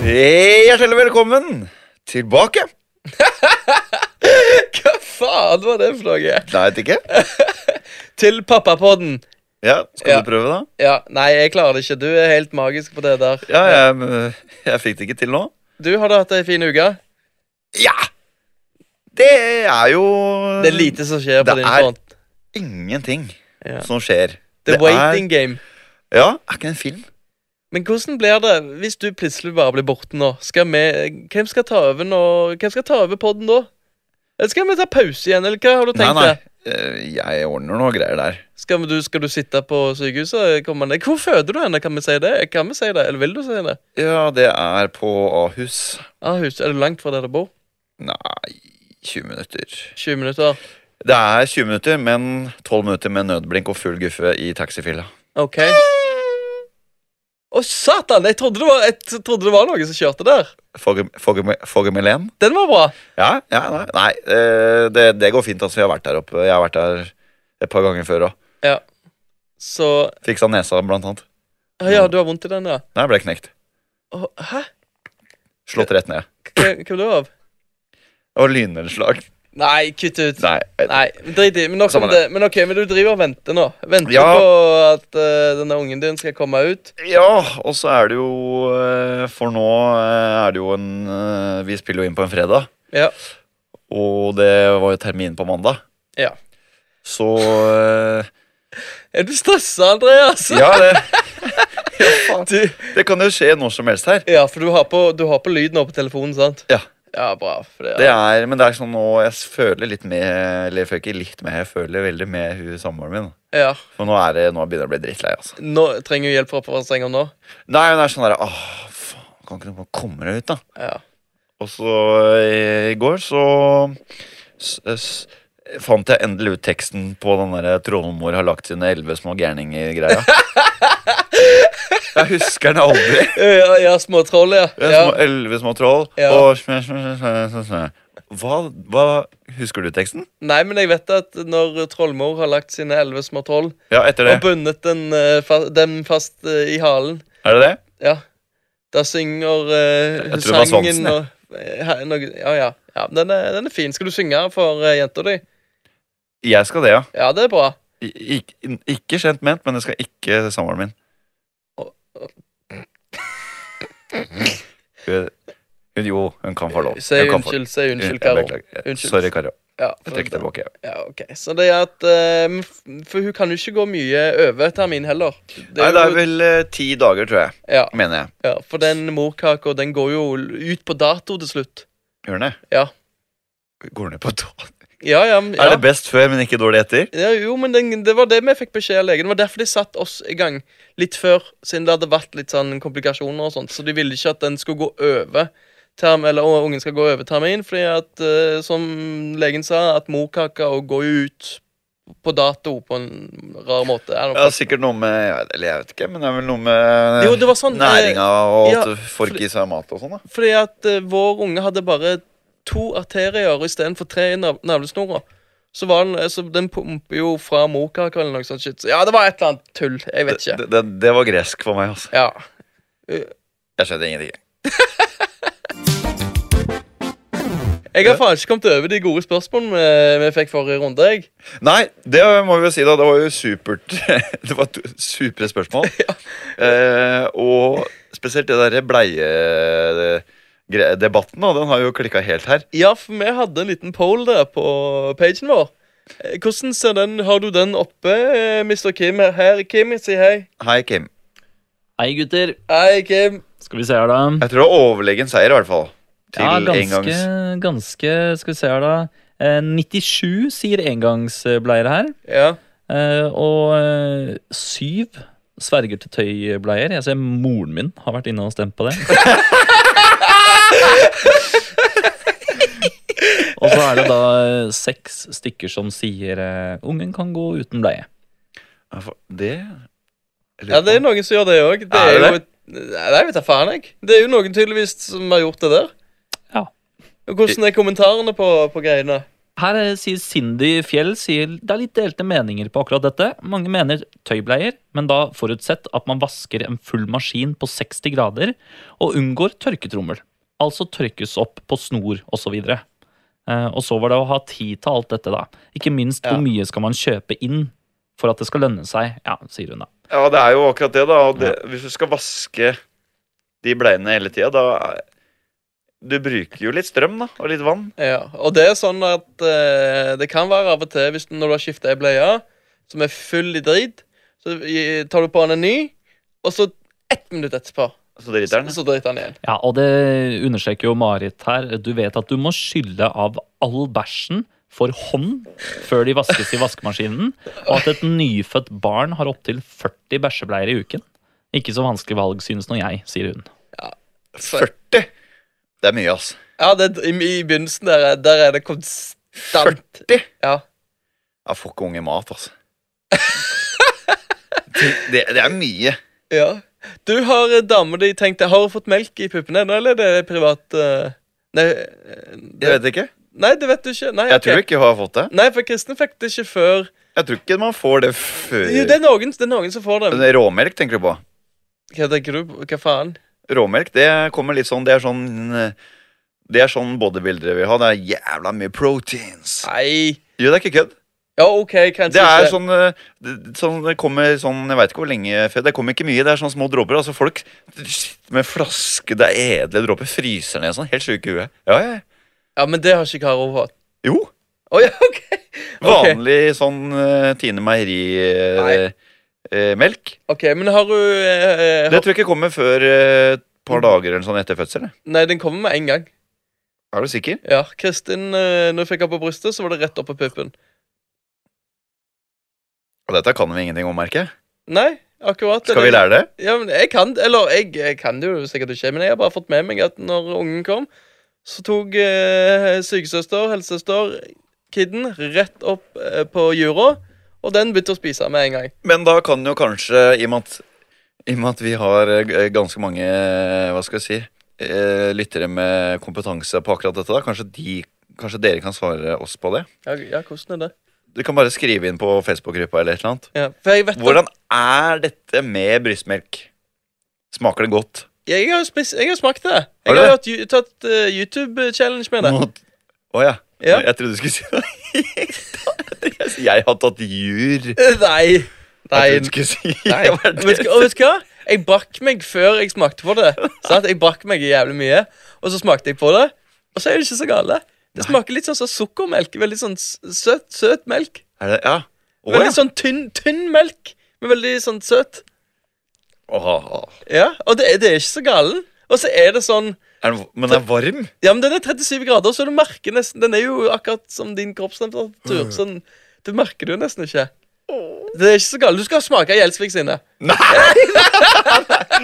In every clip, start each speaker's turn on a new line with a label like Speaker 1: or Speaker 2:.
Speaker 1: Hjertelig velkommen tilbake.
Speaker 2: Hva faen var det for noe?
Speaker 1: Nei, vet ikke.
Speaker 2: Til pappapodden.
Speaker 1: Ja, Skal
Speaker 2: Ja.
Speaker 1: du prøve, da?
Speaker 2: Ja, nei, jeg klarer det ikke. Du er helt magisk på det der.
Speaker 1: Ja, jeg, men, jeg fikk det ikke til nå.
Speaker 2: Du har da hatt ei en fin uke.
Speaker 1: Ja! Det er jo
Speaker 2: Det er lite som skjer på
Speaker 1: Det
Speaker 2: din
Speaker 1: er-
Speaker 2: front.
Speaker 1: ingenting
Speaker 2: Ja.
Speaker 1: som skjer.
Speaker 2: The waiting game.
Speaker 1: Er, ja, er ikke det en film?
Speaker 2: Men hvordan blir det hvis du plutselig bare blir borte nå? Skal vi, hvem skal ta over nå? Hvem skal ta over podden da? Eller skal vi ta pause igjen, eller hva har du tenkt
Speaker 1: nei,
Speaker 2: deg?
Speaker 1: nei. Eh, Jeg ordner noe greier der.
Speaker 2: Skal, vi- du, skal du sitte på sykehuset? Kommer han- Hvor føder du henne? Kan vi si det? Kan vi si det? Eller vil du si det?
Speaker 1: Ja, det er på Ahus.
Speaker 2: Ahus, er det langt fra der du bor?
Speaker 1: Nei 20 minutter.
Speaker 2: 20 minutter?
Speaker 1: Det er 20 minutter, men 12 minutter med nødblink og full guffe i taxifilla.
Speaker 2: Ok. Å, satan! Jeg trodde, det var, jeg trodde det var noen som kjørte der.
Speaker 1: Fogge- Fogge Fogge Melén?
Speaker 2: Den var bra.
Speaker 1: Ja, ja, nei, nei eh, det, det går fint. altså, Jeg har vært der oppe. Jeg har vært der et par ganger før òg.
Speaker 2: Så
Speaker 1: Fiksa nesa, blant annet.
Speaker 2: Å Ja, du har vondt i den, ja.
Speaker 1: Nei, jeg ble knekt.
Speaker 2: Å, hæ?
Speaker 1: Slått rett ned.
Speaker 2: Hva- Hva ble du av?
Speaker 1: Det var lynnedslag.
Speaker 2: Nei, kutt ut.
Speaker 1: Nei. eh,
Speaker 2: Nei, men drit i. Men, nok om
Speaker 1: Samme
Speaker 2: det. men ok, men du driver og venter nå. Venter
Speaker 1: Ja.
Speaker 2: på at eh, denne ungen din skal komme ut.
Speaker 1: Ja, og så er det jo eh, For nå eh, er det jo en eh, Vi spiller jo inn på en fredag,
Speaker 2: Ja.
Speaker 1: og det var jo termin på mandag.
Speaker 2: Ja.
Speaker 1: Så eh,
Speaker 2: Er du stressa, Andreas?
Speaker 1: Ja, det,
Speaker 2: Du,
Speaker 1: det kan jo skje når som helst her.
Speaker 2: ja, for du har, på, du har på lyd nå på telefonen, sant?
Speaker 1: Ja.
Speaker 2: Ja, bra. For det,
Speaker 1: Det er, men det er sånn nå jeg føler litt med Eller jeg føler ikke litt med, jeg føler veldig med hun samboeren min.
Speaker 2: ja.
Speaker 1: For nå, er det, nå begynner jeg å bli drittlei. altså
Speaker 2: Nå trenger hun hjelp fra oppvasksenga nå.
Speaker 1: Nei, hun er sånn der Åh, faen, kan ikke du bare komme deg ut, da?
Speaker 2: Ja.
Speaker 1: Og så eh, i går så s s fant jeg endelig ut teksten på den der eh, trollmor har lagt sine elleve små gærninger-greia. jeg husker den aldri.
Speaker 2: Ja, ja, små troll, ja.
Speaker 1: Det er
Speaker 2: ja.
Speaker 1: små- Elleve små troll.
Speaker 2: Ja.
Speaker 1: Og smæ, smæ, smæ, smæ, smæ, smæ. Hva, hva Husker du teksten?
Speaker 2: Nei, men jeg vet at når trollmor har lagt sine elleve små troll
Speaker 1: Ja, etter det.
Speaker 2: og bundet den, eh, fa dem fast eh, i halen
Speaker 1: Er det det?
Speaker 2: Ja. Da synger eh,
Speaker 1: Jeg
Speaker 2: hun
Speaker 1: tror det var
Speaker 2: sangen
Speaker 1: Svansen, jeg.
Speaker 2: og ja, noe, ja, ja. ja den, er, den er fin. Skal du synge for uh, jenta di?
Speaker 1: Jeg skal det, ja.
Speaker 2: Ja, det er bra.
Speaker 1: I- ikke- ikke kjent ment, men det skal ikke samboeren min.
Speaker 2: Å, å.
Speaker 1: Hun, hun, jo, hun kan få lov.
Speaker 2: Si
Speaker 1: Hun kan få-
Speaker 2: Eh, unnskyld, si
Speaker 1: Hun- jeg
Speaker 2: unnskyld, Karo.
Speaker 1: beklager. Eh,
Speaker 2: Unnskyld.
Speaker 1: Sorry, Karo.
Speaker 2: Ja,
Speaker 1: Jeg
Speaker 2: for,
Speaker 1: trekker tilbake. ja.
Speaker 2: ja, ok. Så det er at eh, f- For hun kan jo ikke gå mye over termin heller. Det
Speaker 1: Nei,
Speaker 2: er
Speaker 1: det er
Speaker 2: jo-
Speaker 1: vel eh, ti dager, tror jeg.
Speaker 2: ja,
Speaker 1: Mener jeg.
Speaker 2: ja, for den morkaka, den går jo ut på dato til slutt.
Speaker 1: Gjør den det?
Speaker 2: Ja.
Speaker 1: Går ned på tå?
Speaker 2: Ja, ja, ja.
Speaker 1: Er det best før, men ikke dårlig etter?
Speaker 2: Ja, jo, men den, det var det vi fikk beskjed av legen. Det var derfor de satte oss i gang litt før, siden det hadde vært litt sånn komplikasjoner og sånt. Så de ville ikke at den skulle gå over term, eller å, ungen skal gå over termin, fordi at, eh, som legen sa, at morkaka og går jo ut på dato på en rar måte. Er det noe-
Speaker 1: Ja, Sikkert noe med ja, Eller jeg vet ikke, men det er vel noe
Speaker 2: Jo,
Speaker 1: med
Speaker 2: det var sånn, eh,
Speaker 1: næringa og
Speaker 2: ja,
Speaker 1: at du får ikke i seg mat og sånn. da
Speaker 2: fordi at eh, vår unge hadde bare to arterier istedenfor tre i nav navlesnora. Så, var den, eh, så den pumper jo fra morkaka eller noe sånt shit. Så, ja, det var et eller annet tull. Jeg vet ikke.
Speaker 1: Det, det, det var gresk for meg, altså.
Speaker 2: Ja.
Speaker 1: Jeg skjønner ingenting.
Speaker 2: Jeg har faen ikke kommet over de gode spørsmålene vi- vi fikk forrige runde. jeg.
Speaker 1: Nei, det må vi jo si, da. Det var jo supert. Det var to- supre spørsmål. eh, og spesielt det derre bleiedebatten, da. Den har jo klikka helt her.
Speaker 2: Ja, for vi hadde en liten poll der på pagen vår. Eh, Hvordan ser den, Har du den oppe, eh, Mr. Kim? Her, Kim, si hei.
Speaker 1: Hei, Kim.
Speaker 3: Hei, gutter.
Speaker 2: Hei, Kim.
Speaker 3: Skal vi se her, da.
Speaker 1: Jeg tror det var overlegen seier, i hvert fall. Til
Speaker 3: ja, ganske,
Speaker 1: engangs.
Speaker 3: ganske Skal vi se her, da. Eh, 97 sier engangsbleier her.
Speaker 2: Ja.
Speaker 3: Eh, og eh, syv sverger til tøybleier. Jeg ser moren min har vært inne og stemt på det. og så er det da eh, seks stykker som sier eh, 'ungen kan gå uten bleie'.
Speaker 1: Ja, for Det jeg lurer
Speaker 2: ja, det er
Speaker 1: på.
Speaker 2: noen som gjør det òg. Det
Speaker 1: Er
Speaker 2: er
Speaker 1: det
Speaker 2: jo et Nei, jeg vet da faen, jeg. Det er jo noen tydeligvis som har gjort det der.
Speaker 3: Ja.
Speaker 2: Og Hvordan er kommentarene på, på greiene?
Speaker 3: Her eh, sier Cindy Fjell sier det er litt delte meninger på akkurat dette. Mange mener tøybleier, men da forutsett at man vasker en full maskin på 60 grader og unngår tørketrommel. Altså tørkes opp på snor osv. Eh, Og så var det å ha tid til alt dette, da. Ikke minst
Speaker 2: Ja.
Speaker 3: hvor mye skal man kjøpe inn for at det skal lønne seg, ja, sier hun da.
Speaker 1: Ja, det er jo akkurat det, da. Og det, Hvis du skal vaske de bleiene hele tida, da er- Du bruker jo litt strøm, da. Og litt vann.
Speaker 2: Ja, og det er sånn at eh, det kan være av og til hvis du, når du har skifta ei bleie som er full i drit, så i- tar du på den en ny, og så ett minutt etterpå,
Speaker 1: Så driter
Speaker 2: så,
Speaker 1: den.
Speaker 2: så driter den igjen.
Speaker 3: Ja, og det understreker jo Marit her. Du vet at du må skylle av all bæsjen for hånd før de vaskes i vaskemaskinen, og at et nyfødt barn har opptil 40 bæsjebleier i uken. Ikke så vanskelig valg, synes nå jeg, sier hun.
Speaker 2: Så,
Speaker 1: 40! Det er mye, altså.
Speaker 2: ja, det, er- i, I begynnelsen der, er- der er det konstant
Speaker 1: 40!
Speaker 2: Ja.
Speaker 1: Jeg får ikke unge mat, altså. Det, det er mye.
Speaker 2: ja. Du har eh, dama di tenkt Har hun fått melk i puppene ennå, eller er det privat eh, Nei, eh,
Speaker 1: Jeg
Speaker 2: det,
Speaker 1: vet ikke.
Speaker 2: nei, det vet du ikke. Nei,
Speaker 1: Jeg
Speaker 2: ok.
Speaker 1: tror ikke hun har fått det.
Speaker 2: Nei, for Kristen fikk det ikke før
Speaker 1: Jeg tror ikke man får det før
Speaker 2: Jo, det er noen, det er noen som får det. men-
Speaker 1: Råmelk, tenker du på?
Speaker 2: Hva tenker du? på? Hva faen?
Speaker 1: Råmelk, det kommer litt sånn Det er sånn eh, Det er sånn bodybuildere vil ha. Det er jævla mye proteins.
Speaker 2: Nei
Speaker 1: Jo, det er ikke kødd.
Speaker 2: Ja, ok, kanskje
Speaker 1: Det er
Speaker 2: ikke.
Speaker 1: sånn, eh, det- sånn Det kommer sånn Jeg veit ikke hvor lenge Fred, Det kommer ikke mye. Det er sånn små dråper. Altså Folk sitter med flaske Det er edle dråper. Fryser ned sånn. Helt sjuke i huet. Ja, ja. ja.
Speaker 2: Ja, men det har ikke Karo hatt.
Speaker 1: Jo.
Speaker 2: Å ja, ok Ok.
Speaker 1: Vanlig sånn eh, Tine Meieri-melk. Eh, melk.
Speaker 2: Ok, men har du eh,
Speaker 1: det
Speaker 2: har...
Speaker 1: tror jeg ikke kommer før eh, et par dager eller sånn etter fødsel. jeg.
Speaker 2: Nei, den kommer med en gang.
Speaker 1: Er du sikker?
Speaker 2: Ja, Kristin, eh, når hun fikk den på brystet, så var det rett opp på puppen.
Speaker 1: Og dette kan vi ingenting om, merker jeg.
Speaker 2: Nei, akkurat.
Speaker 1: Skal vi lære det?
Speaker 2: Ja, men jeg kan Eller jeg, jeg kan det jo sikkert ikke, men jeg har bare fått med meg at når ungen kom, så tok eh, sykesøster, helsesøster, kidden rett opp eh, på jura, og den begynte å spise med en gang.
Speaker 1: Men da kan jo kanskje, i og med at, i og med at vi har eh, g- ganske mange eh, hva skal jeg si, eh, lyttere med kompetanse på akkurat dette, da, kanskje, de, kanskje dere kan svare oss på det?
Speaker 2: Ja, ja hvordan er det?
Speaker 1: Du kan bare skrive inn på Facebook-gruppa eller et eller annet.
Speaker 2: Ja, for jeg vet at-
Speaker 1: Hvordan er dette med brystmelk? Smaker det godt?
Speaker 2: Jeg har, jo spis, jeg har smakt det.
Speaker 1: Har
Speaker 2: Jeg
Speaker 1: du
Speaker 2: har hatt, ju- tatt eh, YouTube-challenge med det.
Speaker 1: Nå- Å ja.
Speaker 2: Ja.
Speaker 1: Jeg trodde du skulle si noe helt annet. Jeg har tatt jur. Jeg
Speaker 2: Nei. Nei.
Speaker 1: trodde du skulle si
Speaker 2: Nei.
Speaker 1: det var
Speaker 2: Men vet,
Speaker 1: det.
Speaker 2: du- og vet du hva? Jeg brakk meg før jeg smakte på det. Sant? Jeg brakk meg jævlig mye, og så smakte jeg på det. Og så er det ikke så gale. Det smaker litt sånn som sukkermelk. Veldig sånn s- søt, søt melk.
Speaker 1: Er det? Ja. Å
Speaker 2: Veldig
Speaker 1: ja.
Speaker 2: sånn tynn, tynn melk, men veldig sånn søt.
Speaker 1: Åh.
Speaker 2: Ja, Og det, er- det er ikke så galen. Og så er det sånn
Speaker 1: Er den- Men den er varm?
Speaker 2: Ja, men den er 37 grader, så du merker nesten Den er jo akkurat som din kroppstemperatur. Sånn, du merker det jo nesten ikke. Det er ikke så galt. Du skal smake Gjelsvik sine. Nei!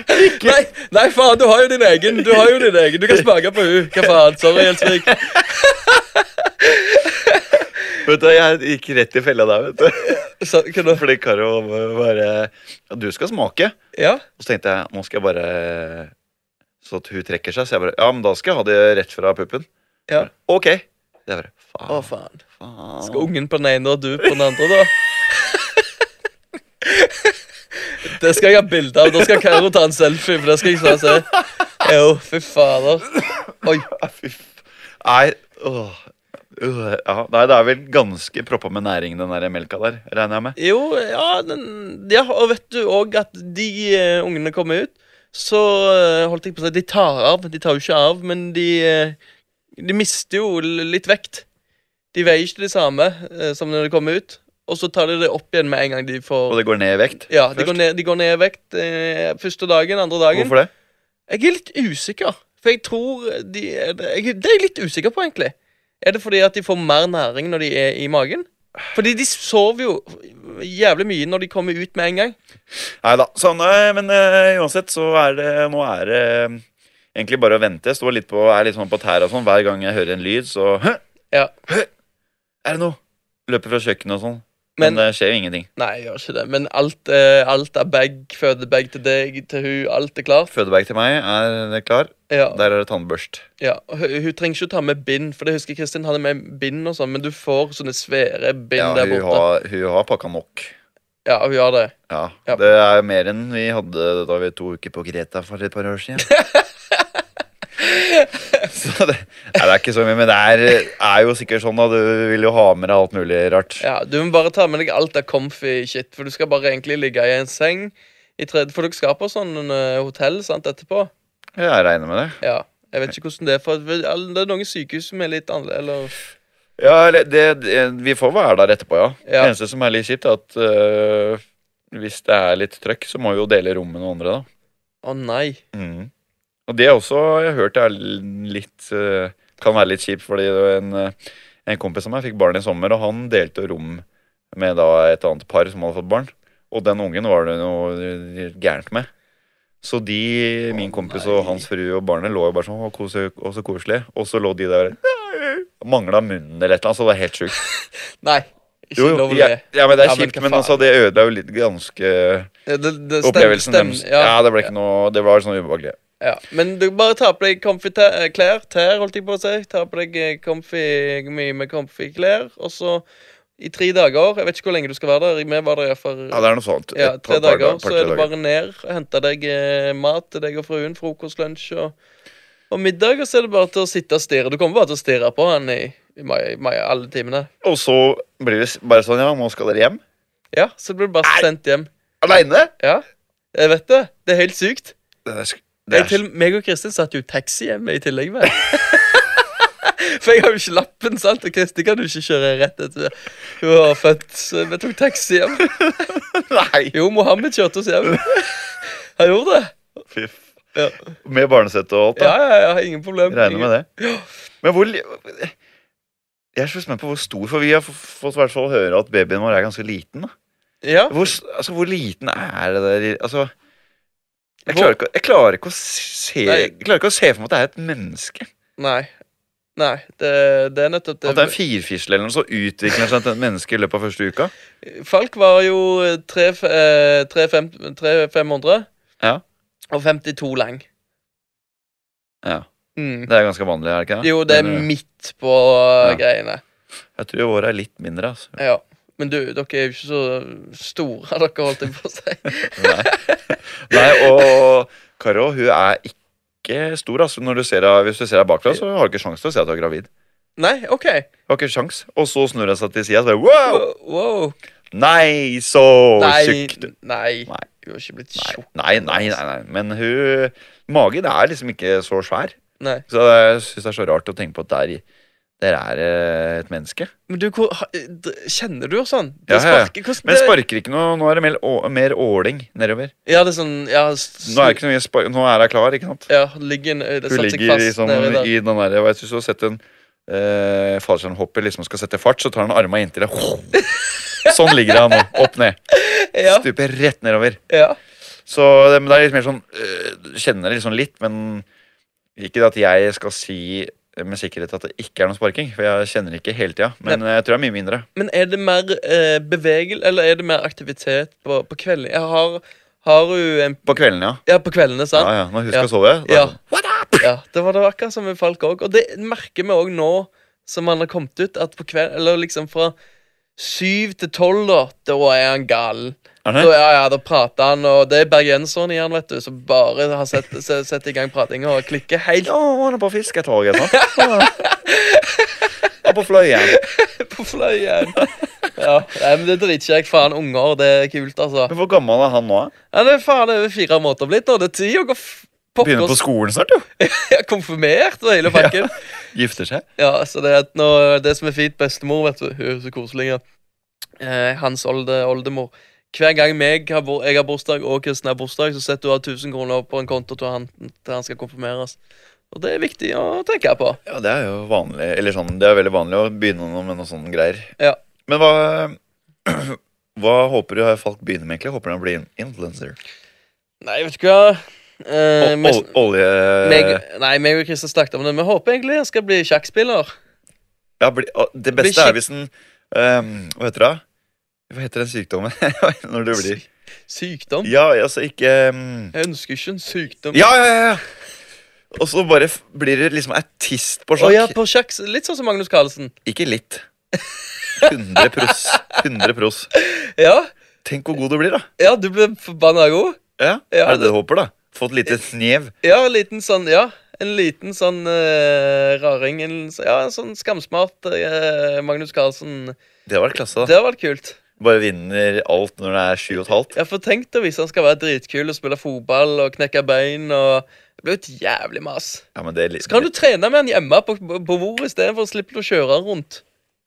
Speaker 2: nei, nei, faen, du har jo din egen. Du har jo din egen Du kan smake på hun Hva faen? Sorry, Gjelsvik.
Speaker 1: Vet du, Jeg gikk rett i fella der, vet du.
Speaker 2: Så, hva da?
Speaker 1: Fordi Karo bare ja, 'Du skal smake.'
Speaker 2: Ja,
Speaker 1: Og så tenkte jeg nå skal jeg bare Så at hun trekker seg. Så jeg bare 'Ja, men da skal jeg ha det rett fra puppen'.
Speaker 2: ja.
Speaker 1: Ok. Det er bare
Speaker 2: Å,
Speaker 1: Faen.
Speaker 2: faen.
Speaker 1: faen.
Speaker 2: Skal ungen på den ene og du på den andre, da? Det skal jeg ha bilde av. Da skal Karo ta en selfie. For det skal jeg snart se. Jo, fy fader. Oi.
Speaker 1: Ja, fy f- Nei, åh. Øh, ja, nei, det er vel ganske proppa med næring, den der melka der, regner jeg med.
Speaker 2: Jo, ja, den, ja Og vet du òg at de eh, ungene kommer ut, så eh, holdt jeg på å si De tar av. De tar jo ikke av, men de, eh, de mister jo l- litt vekt. De veier ikke det samme eh, som når de kommer ut, og så tar de det opp igjen med en gang de
Speaker 1: Og
Speaker 2: får
Speaker 1: det går ned i vekt.
Speaker 2: Ja, de
Speaker 1: først.
Speaker 2: går, ned, de går ned i vekt eh, første dagen, andre dagen.
Speaker 1: Hvorfor det?
Speaker 2: Jeg er litt usikker, for jeg tror de er det, jeg, det er jeg litt usikker på, egentlig. Er det fordi at de får mer næring når de er i magen? Fordi de sover jo jævlig mye når de kommer ut med en gang.
Speaker 1: Nei da. Sånn, eh, men eh, uansett så er det Nå er det eh, egentlig bare å vente. Jeg Står litt på, er litt sånn på tæra og sånn. Hver gang jeg hører en lyd, så Hø!
Speaker 2: Ja.
Speaker 1: Hø! Er det noe? Løper fra kjøkkenet og sånn. Men,
Speaker 2: Men-
Speaker 1: det skjer jo ingenting.
Speaker 2: Nei, jeg gjør ikke det. Men alt, eh, alt er bag, fødebag til deg, til hun, alt er klart.
Speaker 1: Fødebag til meg er det klar.
Speaker 2: Ja,
Speaker 1: Der er det tannbørst.
Speaker 2: ja. Og Hun, hun trenger ikke å ta med bind, for det husker jeg Kristin hadde med bind og sånn, men du får sånne svære bind
Speaker 1: Ja,
Speaker 2: der
Speaker 1: hun
Speaker 2: borte.
Speaker 1: har, hun har pakka nok.
Speaker 2: Ja, hun har det.
Speaker 1: Ja,
Speaker 2: Ja.
Speaker 1: Det er mer enn vi hadde da vi to uker på Greta for et par år siden. så det, nei, det er ikke så mye, men det er, er jo sikkert sånn at du vil jo ha med deg alt mulig rart.
Speaker 2: Ja, Du må bare ta med deg alt av comfy shit, for du skal bare egentlig ligge i en seng. I tredje, for dere skal på sånn eh, hotell sant, etterpå.
Speaker 1: Jeg regner med det.
Speaker 2: Ja, Jeg vet ikke hvordan det er, for det er noen sykehus som er litt annerledes.
Speaker 1: Ja, eller det, det, Vi får være der etterpå, ja.
Speaker 2: Ja.
Speaker 1: Det eneste som er litt kjipt, er at øh, hvis det er litt trøkk, så må vi jo dele rom med noen andre, da.
Speaker 2: Å nei.
Speaker 1: Mhm. Og det er også, jeg har hørt det er litt eh, Kan være litt kjipt, fordi det var en, eh, en kompis av meg fikk barn i sommer, og han delte rom med da et annet par som hadde fått barn. Og den ungen var det noe gærent med. Så de, min
Speaker 2: Å,
Speaker 1: kompis
Speaker 2: nei.
Speaker 1: og hans frue og barnet lå jo bare sånn Å, kose, å, så koselig. Og så lå de der Mangla munnen eller et eller annet, så det var helt sjukt.
Speaker 2: Nei. Ikke
Speaker 1: Jo, jo,
Speaker 2: lov å
Speaker 1: ja,
Speaker 2: le.
Speaker 1: ja, men det er
Speaker 2: Ja, men
Speaker 1: kjipt,
Speaker 2: hva
Speaker 1: men
Speaker 2: faen?
Speaker 1: altså, det ødela jo litt ganske
Speaker 2: Ja, det, det stem-
Speaker 1: opplevelsen
Speaker 2: stem-
Speaker 1: deres.
Speaker 2: Ja,
Speaker 1: Ja, det ble ikke noe Det var sånn ubehagelig.
Speaker 2: ja. Men du bare ta på deg comfy tær, eh, klær. Tær, holdt jeg på å si. Ta på deg eh, comfy, mye med comfy klær. Og så i tre dager Jeg vet ikke hvor lenge du skal være der. Vi var der iallfall
Speaker 1: Ja, det er noe sånt.
Speaker 2: Ja,
Speaker 1: Et
Speaker 2: tre
Speaker 1: par- par
Speaker 2: dager,
Speaker 1: par-
Speaker 2: så
Speaker 1: tre
Speaker 2: er det
Speaker 1: dager.
Speaker 2: bare ned og hente deg eh, mat til deg og fruen. Frokost, lunsj og, og middag. Og så er det bare til å sitte og stirre. Du kommer bare til å stirre på han i, i, mai- mai- alle timene.
Speaker 1: Og så blir det s- bare sånn, ja, nå skal dere hjem.
Speaker 2: Ja, så blir du bare
Speaker 1: Nei.
Speaker 2: sendt hjem.
Speaker 1: Aleine!
Speaker 2: Ja, jeg vet det. Det er helt sykt.
Speaker 1: Det er, sk- det
Speaker 2: Jeg,
Speaker 1: er,
Speaker 2: til, meg og Kristin satt jo i taxi hjemme i tillegg. Med. For jeg har jo ikke lappen, sant? og Kristin kan jo ikke kjøre rett etter hun var født. Så vi tok taxi hjem.
Speaker 1: s- Nei!
Speaker 2: Jo, Mohammed kjørte oss hjem. Han gjorde det.
Speaker 1: Fy f-
Speaker 2: Ja,
Speaker 1: Med barnesett og alt, da.
Speaker 2: ja, ja, ja ingen problem.
Speaker 1: Regner
Speaker 2: Ingen-
Speaker 1: med det. Men hvor li- Jeg er så spent på hvor stor, for vi har f- fått i hvert fall høre at babyen vår er ganske liten. da
Speaker 2: Ja,
Speaker 1: Hvor, s- altså, hvor liten er det der i- Altså jeg
Speaker 2: Hvor-
Speaker 1: klarer, ikke, å- jeg, klarer ikke å se,
Speaker 2: Nei.
Speaker 1: jeg klarer ikke å se for meg at det er et menneske.
Speaker 2: nei. Nei, det, det er nettopp
Speaker 1: At det er en
Speaker 2: det.
Speaker 1: firfisle eller noe som utvikler seg til et menneske i løpet av første uka.
Speaker 2: Falk var jo eh, tre f- eh, tre fem- tre 500
Speaker 1: Ja.
Speaker 2: og 52 lang.
Speaker 1: Ja,
Speaker 2: Mm.
Speaker 1: Det er ganske vanlig, er det ikke det?
Speaker 2: Jo, det er
Speaker 1: Men, øh,
Speaker 2: midt på eh,
Speaker 1: Ja.
Speaker 2: greiene.
Speaker 1: Jeg tror våre er litt mindre, altså.
Speaker 2: Ja. Men du, dere er jo ikke så store, dere, holdt jeg på å si.
Speaker 1: Nei. Nei, og Karo, hun er ikke stor, altså. Når du ser henne, hvis du ser henne bakfra, så har du ikke sjans til å se at hun er gravid.
Speaker 2: Nei, OK.
Speaker 1: Hun har ikke sjans. Og så snur hun seg til sida og bare wow!
Speaker 2: Wow.
Speaker 1: Nei, så
Speaker 2: Nei,
Speaker 1: tjukk du
Speaker 2: nei.
Speaker 1: Nei.
Speaker 2: Du har ikke blitt
Speaker 1: Nei,
Speaker 2: tjukk.
Speaker 1: nei, nei, nei, nei. Men hun Magen er liksom ikke så svær.
Speaker 2: Nei.
Speaker 1: Så jeg syns det er så rart å tenke på at der, der er eh, et menneske.
Speaker 2: Men du, hvor, ha- d- kjenner du sånn?
Speaker 1: Ja, ja,
Speaker 2: Det
Speaker 1: ja.
Speaker 2: sparker hvordan
Speaker 1: Men
Speaker 2: det-
Speaker 1: sparker ikke noe. Nå er det mer, å, mer åling nedover.
Speaker 2: Ja, det er sånn ja, s-
Speaker 1: Nå er, det ikke noe mye spark, nå er jeg klar, ikke sant?
Speaker 2: Ja, ligger, en- det
Speaker 1: Hun
Speaker 2: satt seg
Speaker 1: ligger i,
Speaker 2: fast
Speaker 1: sånn,
Speaker 2: nedi der.
Speaker 1: i den der Jeg vet, Hvis du har sett en eh, fallskjermhopper liksom skal sette fart, så tar han arma inntil deg. Sånn ligger han nå. Opp ned.
Speaker 2: Ja,
Speaker 1: Stuper rett nedover.
Speaker 2: ja.
Speaker 1: Så det, men det er litt mer sånn øh, Kjenner det liksom litt, men ikke at jeg skal si med sikkerhet at det ikke er noe sparking, for jeg kjenner det ikke hele tida. Men eh, jeg tror det er mye mindre.
Speaker 2: Men er det mer eh, bevegel, eller er det mer aktivitet på, på kvelden? Jeg har, har jo en
Speaker 1: På kvelden, ja.
Speaker 2: Ja, på kveldene,
Speaker 1: ja,
Speaker 2: sant?
Speaker 1: ja. Når hun
Speaker 2: Ja.
Speaker 1: skal sove. da er det
Speaker 2: Ja.
Speaker 1: sånn, What up?
Speaker 2: Ja, det var det akkurat som med Falk òg. Og det merker vi òg nå som han har kommet ut, at på kvelden Eller liksom fra syv til tolv, da, da er han gal.
Speaker 1: Er
Speaker 2: Da,
Speaker 1: det?
Speaker 2: ja, ja, da prater han, og det er bergenseren i han, vet du, som bare har sett, se- sett i gang pratinga og klikker helt
Speaker 1: Ja, han er på fisketoget, sant. Ja. Og på fløyen.
Speaker 2: på fløyen. Ja, nei, men det driter jeg faen unger. Det er kult, altså.
Speaker 1: Men hvor gammel er han nå? da?
Speaker 2: Ja, det er faen over fire måneder blitt nå. Det er tid å gå f-
Speaker 1: Begynner på
Speaker 2: pokkers
Speaker 1: skolen snart, jo.
Speaker 2: ja, konfirmert og hele pakken.
Speaker 1: Gifter seg.
Speaker 2: Ja, så det, er at nå, det som er fint, bestemor, vet du, hun er så koselig. Ja. Eh, hans olde, oldemor. Hver gang meg har, bur- jeg har bursdag og Kristin har bursdag, så setter hun av 1000 kroner på en konto til han, til han skal konfirmeres. Og det er viktig å tenke på.
Speaker 1: Ja, det er jo vanlig. Eller sånn, det er veldig vanlig å begynne noe med noe sånn greier.
Speaker 2: Ja.
Speaker 1: Men hva Hva håper du Falk begynner med, egentlig? Håper han blir en influencer?
Speaker 2: Nei, vet du hva eh,
Speaker 1: Ol-
Speaker 2: mes-
Speaker 1: ol- Olje...
Speaker 2: meg, Nei, meg og Kristin snakket om det. Vi håper egentlig han skal bli sjakkspiller.
Speaker 1: Ja, bli, å, det
Speaker 2: Bli
Speaker 1: beste er
Speaker 2: kjekk.
Speaker 1: hvis den ehm, Hva heter det? Hva heter den sykdommen når du blir
Speaker 2: Sykdom?
Speaker 1: Ja, altså ikke mm,
Speaker 2: Jeg ønsker ikke en sykdom.
Speaker 1: Ja, ja, ja! ja. Og så bare f- blir du liksom ertist på
Speaker 2: Å ja,
Speaker 1: sjakk.
Speaker 2: på sjakk. Litt sånn som Magnus Carlsen.
Speaker 1: Ikke litt. 100 pros. 100 pros.
Speaker 2: Ja,
Speaker 1: Tenk hvor god du blir, da.
Speaker 2: ja du ble forbanna god.
Speaker 1: Ja,
Speaker 2: Ja,
Speaker 1: Er det det du håper, da? Få et lite snev.
Speaker 2: Ja, en liten sånn Ja, en liten sånn eh, raring. En, s- ja, en sånn skamsmart eh, Magnus Carlsen.
Speaker 1: Det hadde vært klasse, da.
Speaker 2: Det har vært kult.
Speaker 1: Bare vinner alt når det er sju og et halvt.
Speaker 2: Ja, for tenk deg hvis han skal være dritkul og spille fotball og knekke bein og Det blir jo et jævlig mas.
Speaker 1: Ja, men, det er litt,
Speaker 2: Så kan du trene med han hjemme på, på på bord istedenfor å slippe å kjøre han rundt.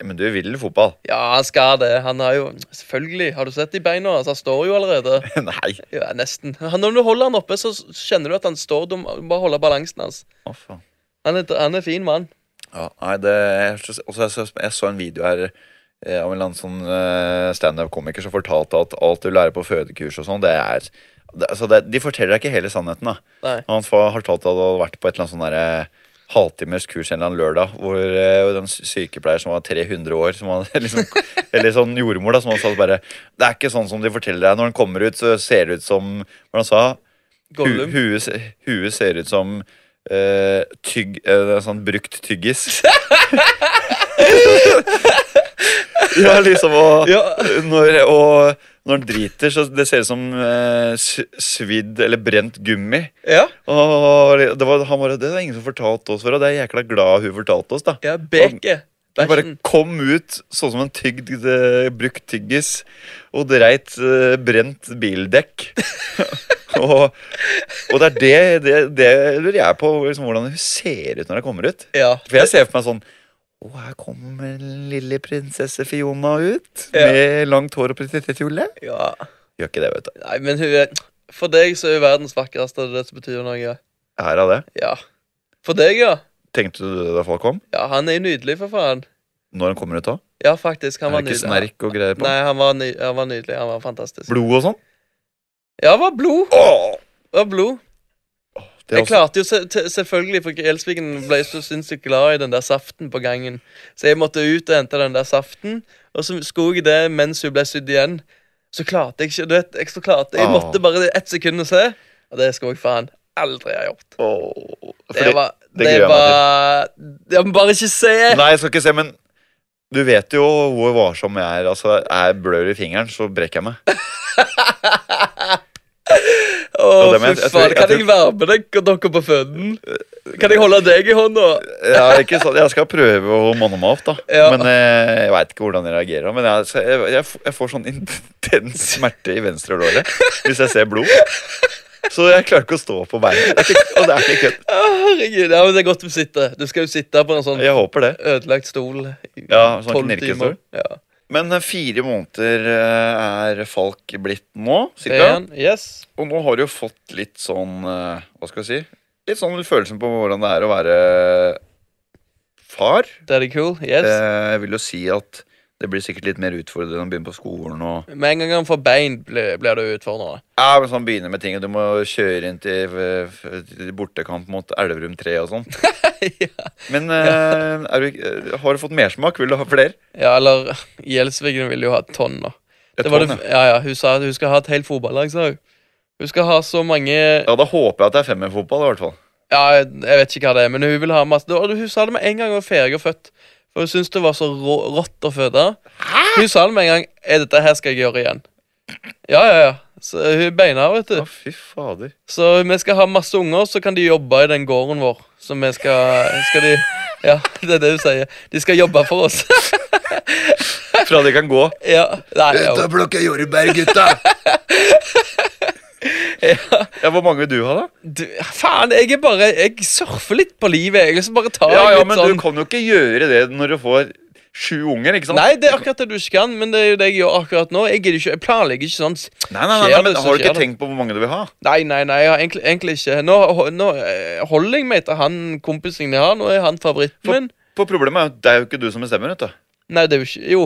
Speaker 1: men du vil fotball?
Speaker 2: Ja, han skal det. Han har jo Selvfølgelig. Har du sett de beina hans? Han står jo allerede.
Speaker 1: Nei.
Speaker 2: Ja, nesten. Han, når du holder han oppe, så s- kjenner du at han står. Du må bare holde balansen hans.
Speaker 1: Å, faen.
Speaker 2: Han er, han er fin mann.
Speaker 1: Ja, nei, det jeg så- også, jeg, så, jeg så en video her eh, av en eller annen sånn eh, standup-komiker som fortalte at alt du lærer på fødekurs og sånn, det er det, altså det, De forteller deg ikke hele sannheten, da.
Speaker 2: Nei.
Speaker 1: Han fa- har talt at han hadde vært på et eller annet sånn derre halvtimers kurs en eller annen lørdag, hvor eh, den sy- sykepleier som var 300 år, som hadde liksom, eller sånn jordmor, da, som hadde sagt bare Det er ikke sånn som de forteller deg. Når han kommer ut, så ser det ut som Hvordan sa han? Hu,
Speaker 2: Gollum.
Speaker 1: huet, se- huet ser ut som eh, tygg, eh, sånn brukt tyggis. ja, liksom og,
Speaker 2: Ja.
Speaker 1: når, og når han driter, så det ser ut som eh, s- svidd eller brent gummi.
Speaker 2: Ja.
Speaker 1: Og det var, han bare, det var ingen som fortalte oss for, og det er jeg jækla glad hun fortalte oss. da
Speaker 2: ja Beke.
Speaker 1: Hun bare
Speaker 2: Bæsjen.
Speaker 1: kom ut sånn som en tygd, eh, brukt tyggis og dreit eh, brent bildekk. og, og det er det, det, det lurer jeg på, liksom, hvordan hun ser ut når hun kommer ut.
Speaker 2: Ja.
Speaker 1: For jeg ser for meg sånn Å, her kommer lille prinsesse Fiona ut
Speaker 2: Ja.
Speaker 1: med langt hår og prinsessekjole.
Speaker 2: ja.
Speaker 1: Gjør ikke det, vet du.
Speaker 2: Nei, men hun er For deg så er hun verdens vakreste. Det er det som betyr noe.
Speaker 1: Her er det.
Speaker 2: Ja. For deg, ja.
Speaker 1: Tenkte du det da folk kom?
Speaker 2: Ja, han er jo nydelig, for faen.
Speaker 1: Når han kommer ut da?
Speaker 2: Ja, faktisk.
Speaker 1: Er
Speaker 2: Han var
Speaker 1: det ikke
Speaker 2: nydelig.
Speaker 1: snerk og greier på?
Speaker 2: Nei, han var, ny, han var nydelig. Han var fantastisk.
Speaker 1: Blod og sånn?
Speaker 2: Ja, det var blod.
Speaker 1: Åh!
Speaker 2: Det var blod.
Speaker 1: Det er
Speaker 2: jeg klarte jo se- te- selvfølgelig, for Elsviken ble så sinnssykt glad i den der saften på gangen. Så jeg måtte ut og hente den der saften, og så skulle jeg det mens hun ble sydd igjen. Så klarte jeg ikke du vet, Jeg, så klarte, jeg
Speaker 1: Ah.
Speaker 2: måtte bare ett sekund å se, og det skulle jeg faen aldri ha gjort.
Speaker 1: Åh,
Speaker 2: Det
Speaker 1: fordi-
Speaker 2: var
Speaker 1: det
Speaker 2: Det,
Speaker 1: gruer jeg meg
Speaker 2: var Ja, men bare ikke se!
Speaker 1: Nei, jeg skal ikke se, men du vet jo hvor varsom jeg er. Altså, Er jeg blør i fingeren, så brekker jeg meg.
Speaker 2: Å,
Speaker 1: Ja, det
Speaker 2: fy
Speaker 1: mener jeg- jeg tror-
Speaker 2: faen.
Speaker 1: jeg
Speaker 2: Kan
Speaker 1: tror-
Speaker 2: jeg være med deg og dere på føden? Kan jeg holde deg i hånda?
Speaker 1: Jeg, er ikke sånn, jeg skal prøve å manne meg opp, da.
Speaker 2: Ja.
Speaker 1: Men eh, jeg veit ikke hvordan jeg reagerer. Men jeg, så jeg, jeg, f- jeg får sånn intens smerte i venstre låret hvis jeg ser blod. Så jeg klarer ikke å stå på beinet. Det er ikke, og det er ikke kødd.
Speaker 2: Å, Herregud. Ja, men det er godt du sitter. Du skal jo sitte på en sånn
Speaker 1: Jeg håper det.
Speaker 2: ødelagt stol i
Speaker 1: Ja, sånn
Speaker 2: 12
Speaker 1: knirkestol.
Speaker 2: timer. Ja.
Speaker 1: Men eh, fire måneder eh, er Falk blitt nå,
Speaker 2: Det
Speaker 1: cirka.
Speaker 2: er han. Yes.
Speaker 1: Og nå har du jo fått litt sånn eh, Hva skal jeg si? Litt sånn følelsen på hvordan det er å være far.
Speaker 2: Det er det cool. Yes.
Speaker 1: Eh, Jeg vil jo si at det blir sikkert litt mer utfordrende å begynne på skolen. og
Speaker 2: Med en gang han får bein, blir, blir det utfordrende.
Speaker 1: ja, men sånn begynner med ting, og Du må kjøre inn til, eh, f- til bortekamp mot Elverum 3 og sånn.
Speaker 2: ja.
Speaker 1: Men eh, er du, ikke- eh, har du fått mersmak? Vil du ha flere?
Speaker 2: ja, eller Gjelsvigen ville jo ha tonner.
Speaker 1: Et
Speaker 2: Det var det,
Speaker 1: tonn, ja.
Speaker 2: ja, ja, hun sa at hun skal ha et helt fotballag, sa hun. Hun skal ha så mange
Speaker 1: ja, Da håper jeg at det er femmerfotball. i hvert fall.
Speaker 2: Ja, jeg vet ikke hva det er, men hun vil ha masse det var- Hun sa det med en gang hun var ferdig og født. For hun syntes det var så rå, rått å føde. Hun sa det med en gang. Er dette her skal jeg gjøre igjen? Ja, ja, ja. Så hun er beina, vet du.
Speaker 1: Å, fy fader.
Speaker 2: Så vi skal ha masse unger, så kan de jobbe i den gården vår. Så vi skal, skal de Ja, det er det hun sier. De skal jobbe for oss.
Speaker 1: Fra de kan gå.
Speaker 2: ja, nei, ja.
Speaker 1: plukker jordbær, gutta! ja, Hvor mange vil du ha, da?
Speaker 2: Du, faen, jeg er bare Jeg surfer litt på livet. Jeg liksom bare tar
Speaker 1: Ja, ja,
Speaker 2: litt
Speaker 1: men
Speaker 2: sånn
Speaker 1: du kan jo ikke gjøre det når du får sju unger, ikke sant?
Speaker 2: Nei, det er akkurat det du ikke kan, men det er jo det jeg gjør akkurat nå. Jeg, gidder ikke, jeg planlegger ikke sånn.
Speaker 1: nei, nei, nei,
Speaker 2: Skjer
Speaker 1: men
Speaker 2: det,
Speaker 1: Har du
Speaker 2: så skjer
Speaker 1: ikke
Speaker 2: det.
Speaker 1: tenkt på hvor mange du vil ha?
Speaker 2: Nei, nei, nei, jeg har egentlig, egentlig ikke. Nå, nå eh, holder jeg meg til han kompisen jeg har. Nå er han favoritten
Speaker 1: For-
Speaker 2: min.
Speaker 1: For problemet er jo at det er jo ikke du som bestemmer. vet du
Speaker 2: Nei, det er jo ikke Jo.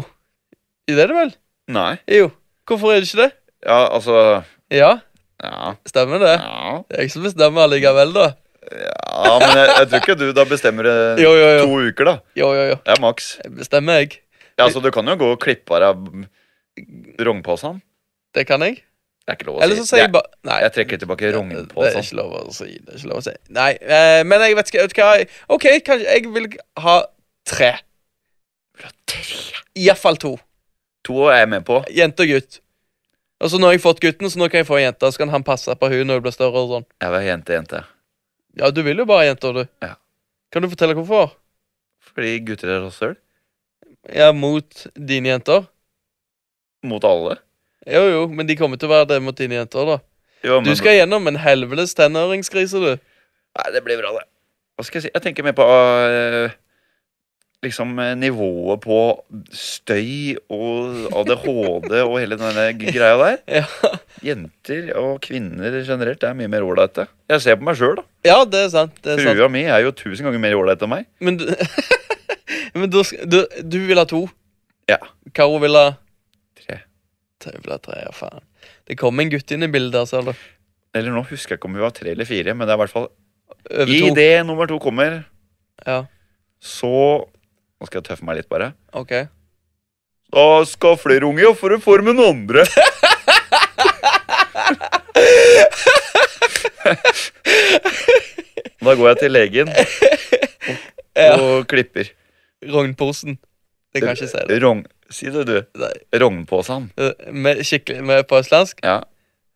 Speaker 2: Det er det vel?
Speaker 1: Nei,
Speaker 2: Jo. Hvorfor er det ikke det?
Speaker 1: ja, altså
Speaker 2: Ja,
Speaker 1: Ja,
Speaker 2: stemmer det.
Speaker 1: ja,
Speaker 2: Det er jeg som bestemmer likevel, da.
Speaker 1: ja men jeg, jeg tror ikke du da bestemmer det
Speaker 2: Jo, jo, jo.
Speaker 1: to uker, da.
Speaker 2: Jo, jo, jo.
Speaker 1: Det er maks.
Speaker 2: Det bestemmer jeg.
Speaker 1: Ja, altså, du kan jo gå og klippe av deg Rognpåsan?
Speaker 2: Det kan jeg.
Speaker 1: Det er ikke lov å
Speaker 2: Eller
Speaker 1: si.
Speaker 2: så sier jeg
Speaker 1: jeg,
Speaker 2: bare Nei.
Speaker 1: jeg trekker tilbake
Speaker 2: Det er
Speaker 1: rognpåsan.
Speaker 2: ikke lov å si. Det er ikke lov å si. Nei, eh, men jeg vet ikke vet du hva jeg- OK, kanskje jeg vil ha tre. Iallfall to.
Speaker 1: To er jeg med på.
Speaker 2: Jente og gutt. Og så nå har jeg fått gutten, så nå kan jeg få ei jente. Så kan han passe på hun når hun blir større. og sånn
Speaker 1: Jeg var jente, jente.
Speaker 2: Ja, du vil jo bare ha jenter, du.
Speaker 1: Ja.
Speaker 2: Kan du fortelle hvorfor?
Speaker 1: Fordi gutter er rasshøl.
Speaker 2: Ja, mot dine jenter?
Speaker 1: Mot alle.
Speaker 2: Jo, jo, men de kommer til å være det mot dine jenter, da.
Speaker 1: Jo,
Speaker 2: Du
Speaker 1: men-
Speaker 2: skal gjennom en helvetes tenåringskrise, du.
Speaker 1: Nei, det blir bra, det. Hva skal jeg si? Jeg tenker mer på eh, liksom eh, nivået på støy og ADHD og hele denne g- greia der.
Speaker 2: Ja.
Speaker 1: Jenter og kvinner generelt er mye mer ålreite. Jeg ser på meg sjøl, da.
Speaker 2: Ja, det er sant. Det er sant.
Speaker 1: Frua mi er jo tusen ganger mer ålreit enn meg.
Speaker 2: Men, du, men du, sk- du, du vil ha to?
Speaker 1: Ja.
Speaker 2: Karo vil ha
Speaker 1: Tre.
Speaker 2: Tre vil ha tre, ja, faen. Det kom en gutt inn i bildet, altså. Eller?
Speaker 1: Eller nå husker jeg ikke om vi var tre eller fire, men det er i hvert fall
Speaker 2: Over
Speaker 1: I
Speaker 2: to.
Speaker 1: det nummer to kommer,
Speaker 2: Ja,
Speaker 1: så Nå skal jeg tøffe meg litt, bare.
Speaker 2: ok.
Speaker 1: Da skal flere unge ja, for å forme noen andre. da går jeg til legen
Speaker 2: Ja.
Speaker 1: og klipper.
Speaker 2: Rognposen. Det kan jeg ikke si det.
Speaker 1: Rogn... Si det, du.
Speaker 2: Nei.
Speaker 1: Rognpåsan.
Speaker 2: Eh, Med, skikkelig med på østlandsk.
Speaker 1: Ja.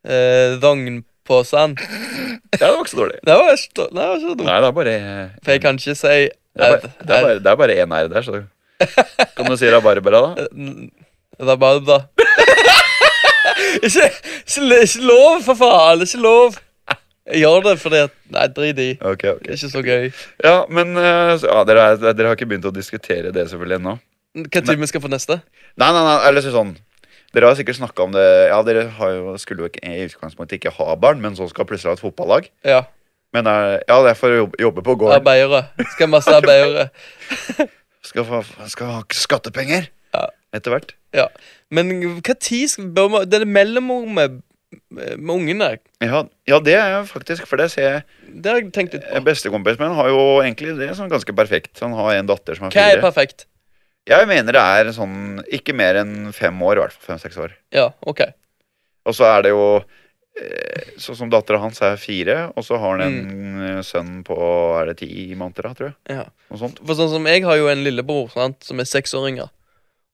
Speaker 2: Eh, Rognposen.
Speaker 1: ja, det var ikke så dårlig.
Speaker 2: Det var ikke det var ikke dumt.
Speaker 1: Nei, det er bare
Speaker 2: For jeg kan ikke si
Speaker 1: Det er bare- det er bare- det er bare én R der, så Kan du si rabarbra, da?
Speaker 2: Det er bare da. ikke, ikke, ikke lov, for faen! Ikke lov! Jeg gjør det fordi at Nei, drit i.
Speaker 1: Ok, ok.
Speaker 2: Det er ikke så gøy.
Speaker 1: Ja, men eh, så- ja, dere, er, dere har ikke begynt å diskutere det selvfølgelig ennå?
Speaker 2: Hva tid vi skal få neste?
Speaker 1: Nei, nei, nei, eller så sånn Dere har sikkert snakka om det Ja, dere har jo, skulle jo ikke, i utgangspunktet ikke ha barn, men så skal plutselig ha et fotballag.
Speaker 2: Ja.
Speaker 1: Men eh, ja, det er for å jobbe, jobbe på gården.
Speaker 2: Arbeidere. Skal masse arbeidere.
Speaker 1: Skal, få- skal ha skattepenger.
Speaker 2: Ja.
Speaker 1: Etter hvert.
Speaker 2: Men hva tid skal bør man- Det er det mellomrommet med ungene.
Speaker 1: Ja, ja, det er jo faktisk For det ser jeg
Speaker 2: Det har jeg tenkt litt
Speaker 1: eh,
Speaker 2: på.
Speaker 1: Bestekompisen min har jo egentlig det sånn ganske perfekt. Han har en datter som er
Speaker 2: Hva er
Speaker 1: fire.
Speaker 2: perfekt?
Speaker 1: Jeg mener det er sånn ikke mer enn fem år, i hvert fall fem-seks år.
Speaker 2: Ja, OK.
Speaker 1: Og så er det jo eh, Sånn som dattera hans er fire, og så har han en
Speaker 2: Mm.
Speaker 1: eh, sønn på er det ti måneder, da, tror jeg.
Speaker 2: Ja.
Speaker 1: Noe sånt.
Speaker 2: For sånn som Jeg har jo en lillebror sant, som er seksåringer.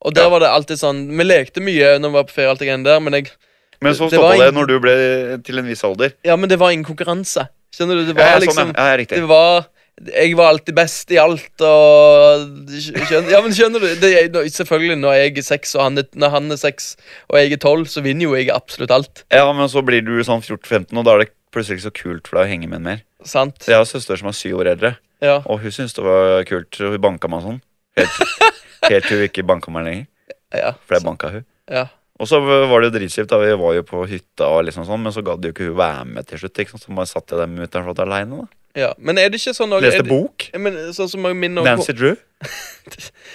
Speaker 2: Og der
Speaker 1: Ja.
Speaker 2: var det alltid sånn Vi lekte mye når vi var på ferie, alt det greiene der, men jeg
Speaker 1: Men så
Speaker 2: Det- det var
Speaker 1: stoppa det når
Speaker 2: ingen-
Speaker 1: du ble til en viss alder.
Speaker 2: Ja, men det var ingen konkurranse. Skjønner du? Det
Speaker 1: Ja,
Speaker 2: var
Speaker 1: ja, sånn,
Speaker 2: liksom
Speaker 1: ja. ja, riktig.
Speaker 2: Det var Jeg var alltid best i alt og skjønner, Ja, men skjønner du? Det, er- selvfølgelig, når jeg er seks, og han er, når han er seks, og jeg er tolv, så vinner jo jeg absolutt alt.
Speaker 1: Ja, men så blir du sånn 14-15, og da er det plutselig ikke så kult for deg å henge med en mer.
Speaker 2: Sant?
Speaker 1: Så jeg har en søster som er syv år eldre,
Speaker 2: Ja.
Speaker 1: og hun syntes det var kult. så Hun banka meg sånn. Helt, helt til hun ikke banka meg lenger.
Speaker 2: Ja.
Speaker 1: For jeg banka hun.
Speaker 2: ja.
Speaker 1: Og så var det jo dritkjipt. da, Vi var jo på hytta, og liksom sånn, men så gadd jo ikke hun være med til slutt. Ikke sant? Så bare satt jeg der med mutter'n flott aleine.
Speaker 2: ja. Men er det ikke sånn også- er
Speaker 1: Leste
Speaker 2: det-
Speaker 1: bok.
Speaker 2: Men sånn som min og
Speaker 1: Nancy Drew.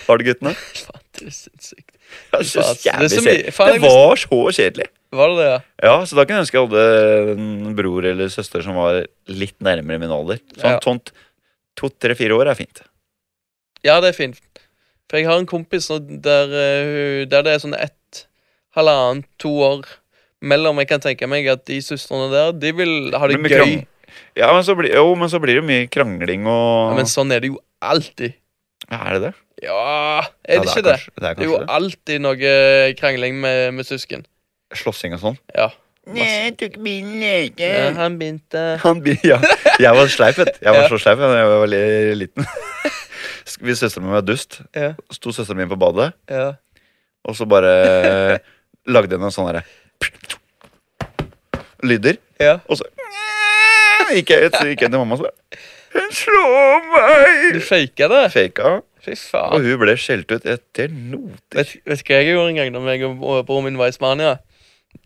Speaker 1: Var det guttene?
Speaker 2: Faen, det er sinnssykt.
Speaker 1: Det var så
Speaker 2: Det er
Speaker 1: jævlig
Speaker 2: så mye- liksom-
Speaker 1: kjedelig.
Speaker 2: faen,
Speaker 1: Det
Speaker 2: jeg visste-
Speaker 1: var så kjedelig.
Speaker 2: Var det det, ja?
Speaker 1: Ja, så da kan jeg ønske jeg hadde en bror eller søster som var litt nærmere min alder. Sånn
Speaker 2: Ja.
Speaker 1: sånt to, tre, fire år er fint.
Speaker 2: Ja, det er fint. For jeg har en kompis nå der, eh, hun- der det er sånn ett, halvannet, to år mellom. Jeg kan tenke meg at de søstrene der, de vil ha det
Speaker 1: Men med
Speaker 2: gøy.
Speaker 1: krang- Ja, men så blir, jo, men så blir det mye krangling og
Speaker 2: Ja, men sånn er det jo alltid.
Speaker 1: Er det det?
Speaker 2: Ja, er det
Speaker 1: ja,
Speaker 2: ikke
Speaker 1: Kanskje,
Speaker 2: det?
Speaker 1: det er
Speaker 2: Det er jo
Speaker 1: kanskje det.
Speaker 2: alltid noe eh, krangling med, med søsken.
Speaker 1: Slåssing og sånn.
Speaker 2: Ja.
Speaker 1: jeg tok bilen,
Speaker 2: Eh, Han begynte
Speaker 1: Han, blir- ja. Jeg var sleip, vet du. Jeg var
Speaker 2: Ja.
Speaker 1: så sleip da jeg var veldig liten. Hvis søsteren min var dust,
Speaker 2: Ja.
Speaker 1: sto søsteren min på badet,
Speaker 2: Ja.
Speaker 1: og så bare lagde hun en sånn herre Lyder.
Speaker 2: ja.
Speaker 1: Og så gikk jeg ut, så gikk jeg til mamma og sa Hun slår meg!
Speaker 2: Du faka det?
Speaker 1: Faka,
Speaker 2: Fy
Speaker 1: og
Speaker 2: faen.
Speaker 1: hun ble skjelt ut etter noter.
Speaker 2: Vet, vet du hva jeg gjorde en gang da jeg og og broren min var i Spania?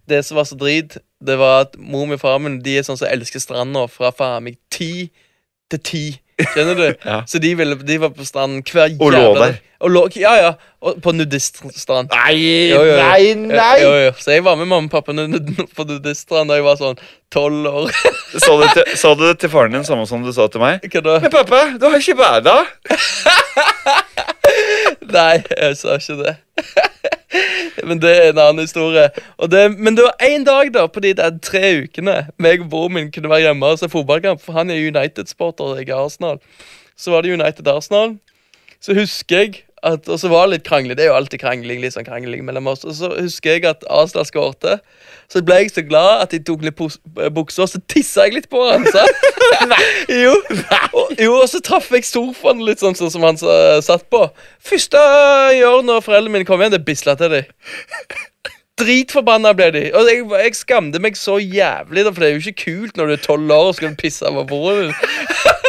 Speaker 2: Det som var så drit, det var at mor mi og far min de er sånn som elsker stranda fra faen meg ti til ti. Skjønner du?
Speaker 1: Ja.
Speaker 2: Så de, ville, de var på stranden hver
Speaker 1: Og lå der.
Speaker 2: dag. Og lå Ja, ja. Og på nudiststrand.
Speaker 1: Nei,
Speaker 2: Jo, jo, jo.
Speaker 1: nei,
Speaker 2: Jo,
Speaker 1: nei!
Speaker 2: jo. Så jeg var med mamma og pappa nu- nu- på nudiststrand da jeg var sånn tolv år.
Speaker 1: Sa du, til, sa du det til faren din samme som du sa til meg?
Speaker 2: Hva da?
Speaker 1: Men pappa, du har ikke bada!
Speaker 2: Nei, jeg sa ikke det. Men det er en annen historie. Og det, men det var én dag da, på de der tre ukene meg og broren min kunne være hjemme og se fotballkamp. For han er United-sporter, og jeg er Arsenal. Så var det United-Arsenal. Så husker jeg at, Og så var det litt krangling. Det er jo alltid krangling litt sånn krangling mellom oss. Og så husker jeg at Arsenal skårte. Så ble jeg så glad at de tok litt pos- eh, buksa, så tissa jeg litt på han. sant? jo. Og, jo, og så traff jeg sofaen litt sånn, sånn som han sa- satt på. Første jeg gjør når foreldrene mine kom igjen, det er bisla til de. Dritforbanna ble de. Og jeg, jeg skamte meg så jævlig, da, for det er jo ikke kult når du er tolv år og skal pisse på broren din.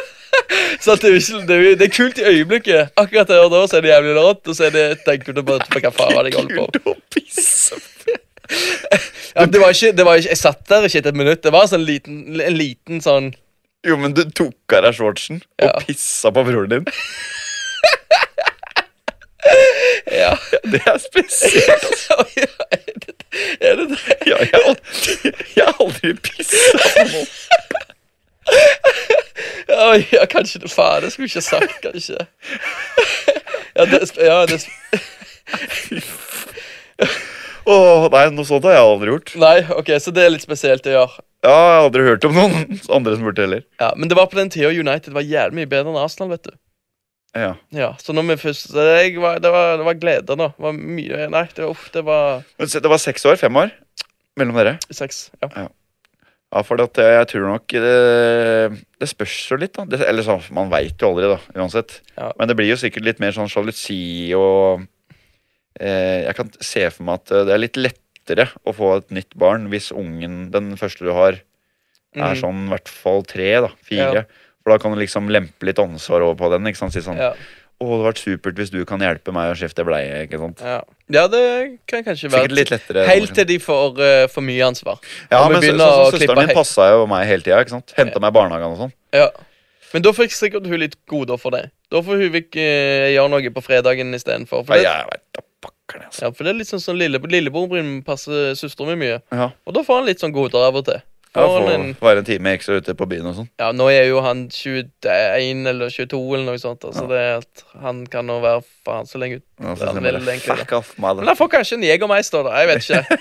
Speaker 2: Så at det, er jo ikke, det, er jo, det er kult i øyeblikket. Akkurat der og da så er det jævlig rått, og så er det, tenker du bare på hva faen var det jeg holdt på
Speaker 1: Kult å pisse
Speaker 2: ja, det var ikke, det var ikke, Jeg satt der ikke etter et minutt. Det var sånn liten, en liten sånn
Speaker 1: Jo, men du tok av deg shortsen og
Speaker 2: Ja.
Speaker 1: pissa på broren din.
Speaker 2: Ja.
Speaker 1: Det er spesielt.
Speaker 2: Er det det?
Speaker 1: Ja, jeg, har aldri- jeg har aldri pissa på noen.
Speaker 2: Oi, ja, kanskje det Faen, det skulle jeg ikke ha sagt, kanskje. Ja, det, ja, det
Speaker 1: Åh, nei, noe sånt har jeg aldri gjort.
Speaker 2: Nei, ok, så det er litt spesielt å gjøre.
Speaker 1: Ja, Jeg har aldri hørt om noen andre som burde heller.
Speaker 2: Ja, Men det var på den tida United var jævlig mye bedre enn Arsenal, vet du.
Speaker 1: Ja.
Speaker 2: Ja, Så når vi først så jeg var, det, var, det var glede nå. Det var mye Nei, det var, uff, det var
Speaker 1: Men se, det var seks år? Fem år? Mellom dere?
Speaker 2: sex. Ja.
Speaker 1: Ja, for at eh, jeg, jeg tror nok det, det spørs jo litt, da. Det, eller sånn, man veit jo aldri, da, uansett.
Speaker 2: Ja.
Speaker 1: Men det blir jo sikkert litt mer sånn sjalusi og eh, Jeg kan se for meg at eh, det er litt lettere å få et nytt barn hvis ungen, den første du har,
Speaker 2: Mhm.
Speaker 1: er sånn i hvert fall tre, da. Fire. For da kan du liksom lempe litt ansvar over på den. ikke sant? Si sånn
Speaker 2: ja,
Speaker 1: 'Å, det hadde vært supert hvis du kan hjelpe meg å skifte bleie', ikke sant.
Speaker 2: ja. ja, det kan kanskje være
Speaker 1: Sikkert litt eh, lettere.
Speaker 2: Helt til de får eh, for mye ansvar.
Speaker 1: Ja,
Speaker 2: Når
Speaker 1: men
Speaker 2: vi
Speaker 1: så,
Speaker 2: begynner
Speaker 1: så, så,
Speaker 2: å klippe
Speaker 1: søsteren min
Speaker 2: helt.
Speaker 1: passa jo meg hele tida. ikke sant? Henta meg i barnehagen og sånn.
Speaker 2: Ja. Men da fikk sikkert hun litt goder for det. Da får hun ikke eh, gjøre noe på fredagen istedenfor. For,
Speaker 1: Nei,
Speaker 2: det-
Speaker 1: jeg vet da pokker, det, altså.
Speaker 2: ja, for det er litt sånn som lille, lillebroren min passer søsteren min mye.
Speaker 1: Ja.
Speaker 2: Og da får han litt sånn goder av og til.
Speaker 1: Ja,
Speaker 2: Får
Speaker 1: få
Speaker 2: han en,
Speaker 1: være en time ekstra ute på byen og sånn.
Speaker 2: ja, nå er jo han 21 eller 22 eller noe sånt, altså
Speaker 1: Ja.
Speaker 2: det er at han kan nå være faen så lenge ut.
Speaker 1: Og så
Speaker 2: Ja,
Speaker 1: sier han
Speaker 2: vel,
Speaker 1: bare,
Speaker 2: egentlig,
Speaker 1: Fuck off, mother.
Speaker 2: Men han får kanskje en Jegermeister, da. Jeg vet ikke.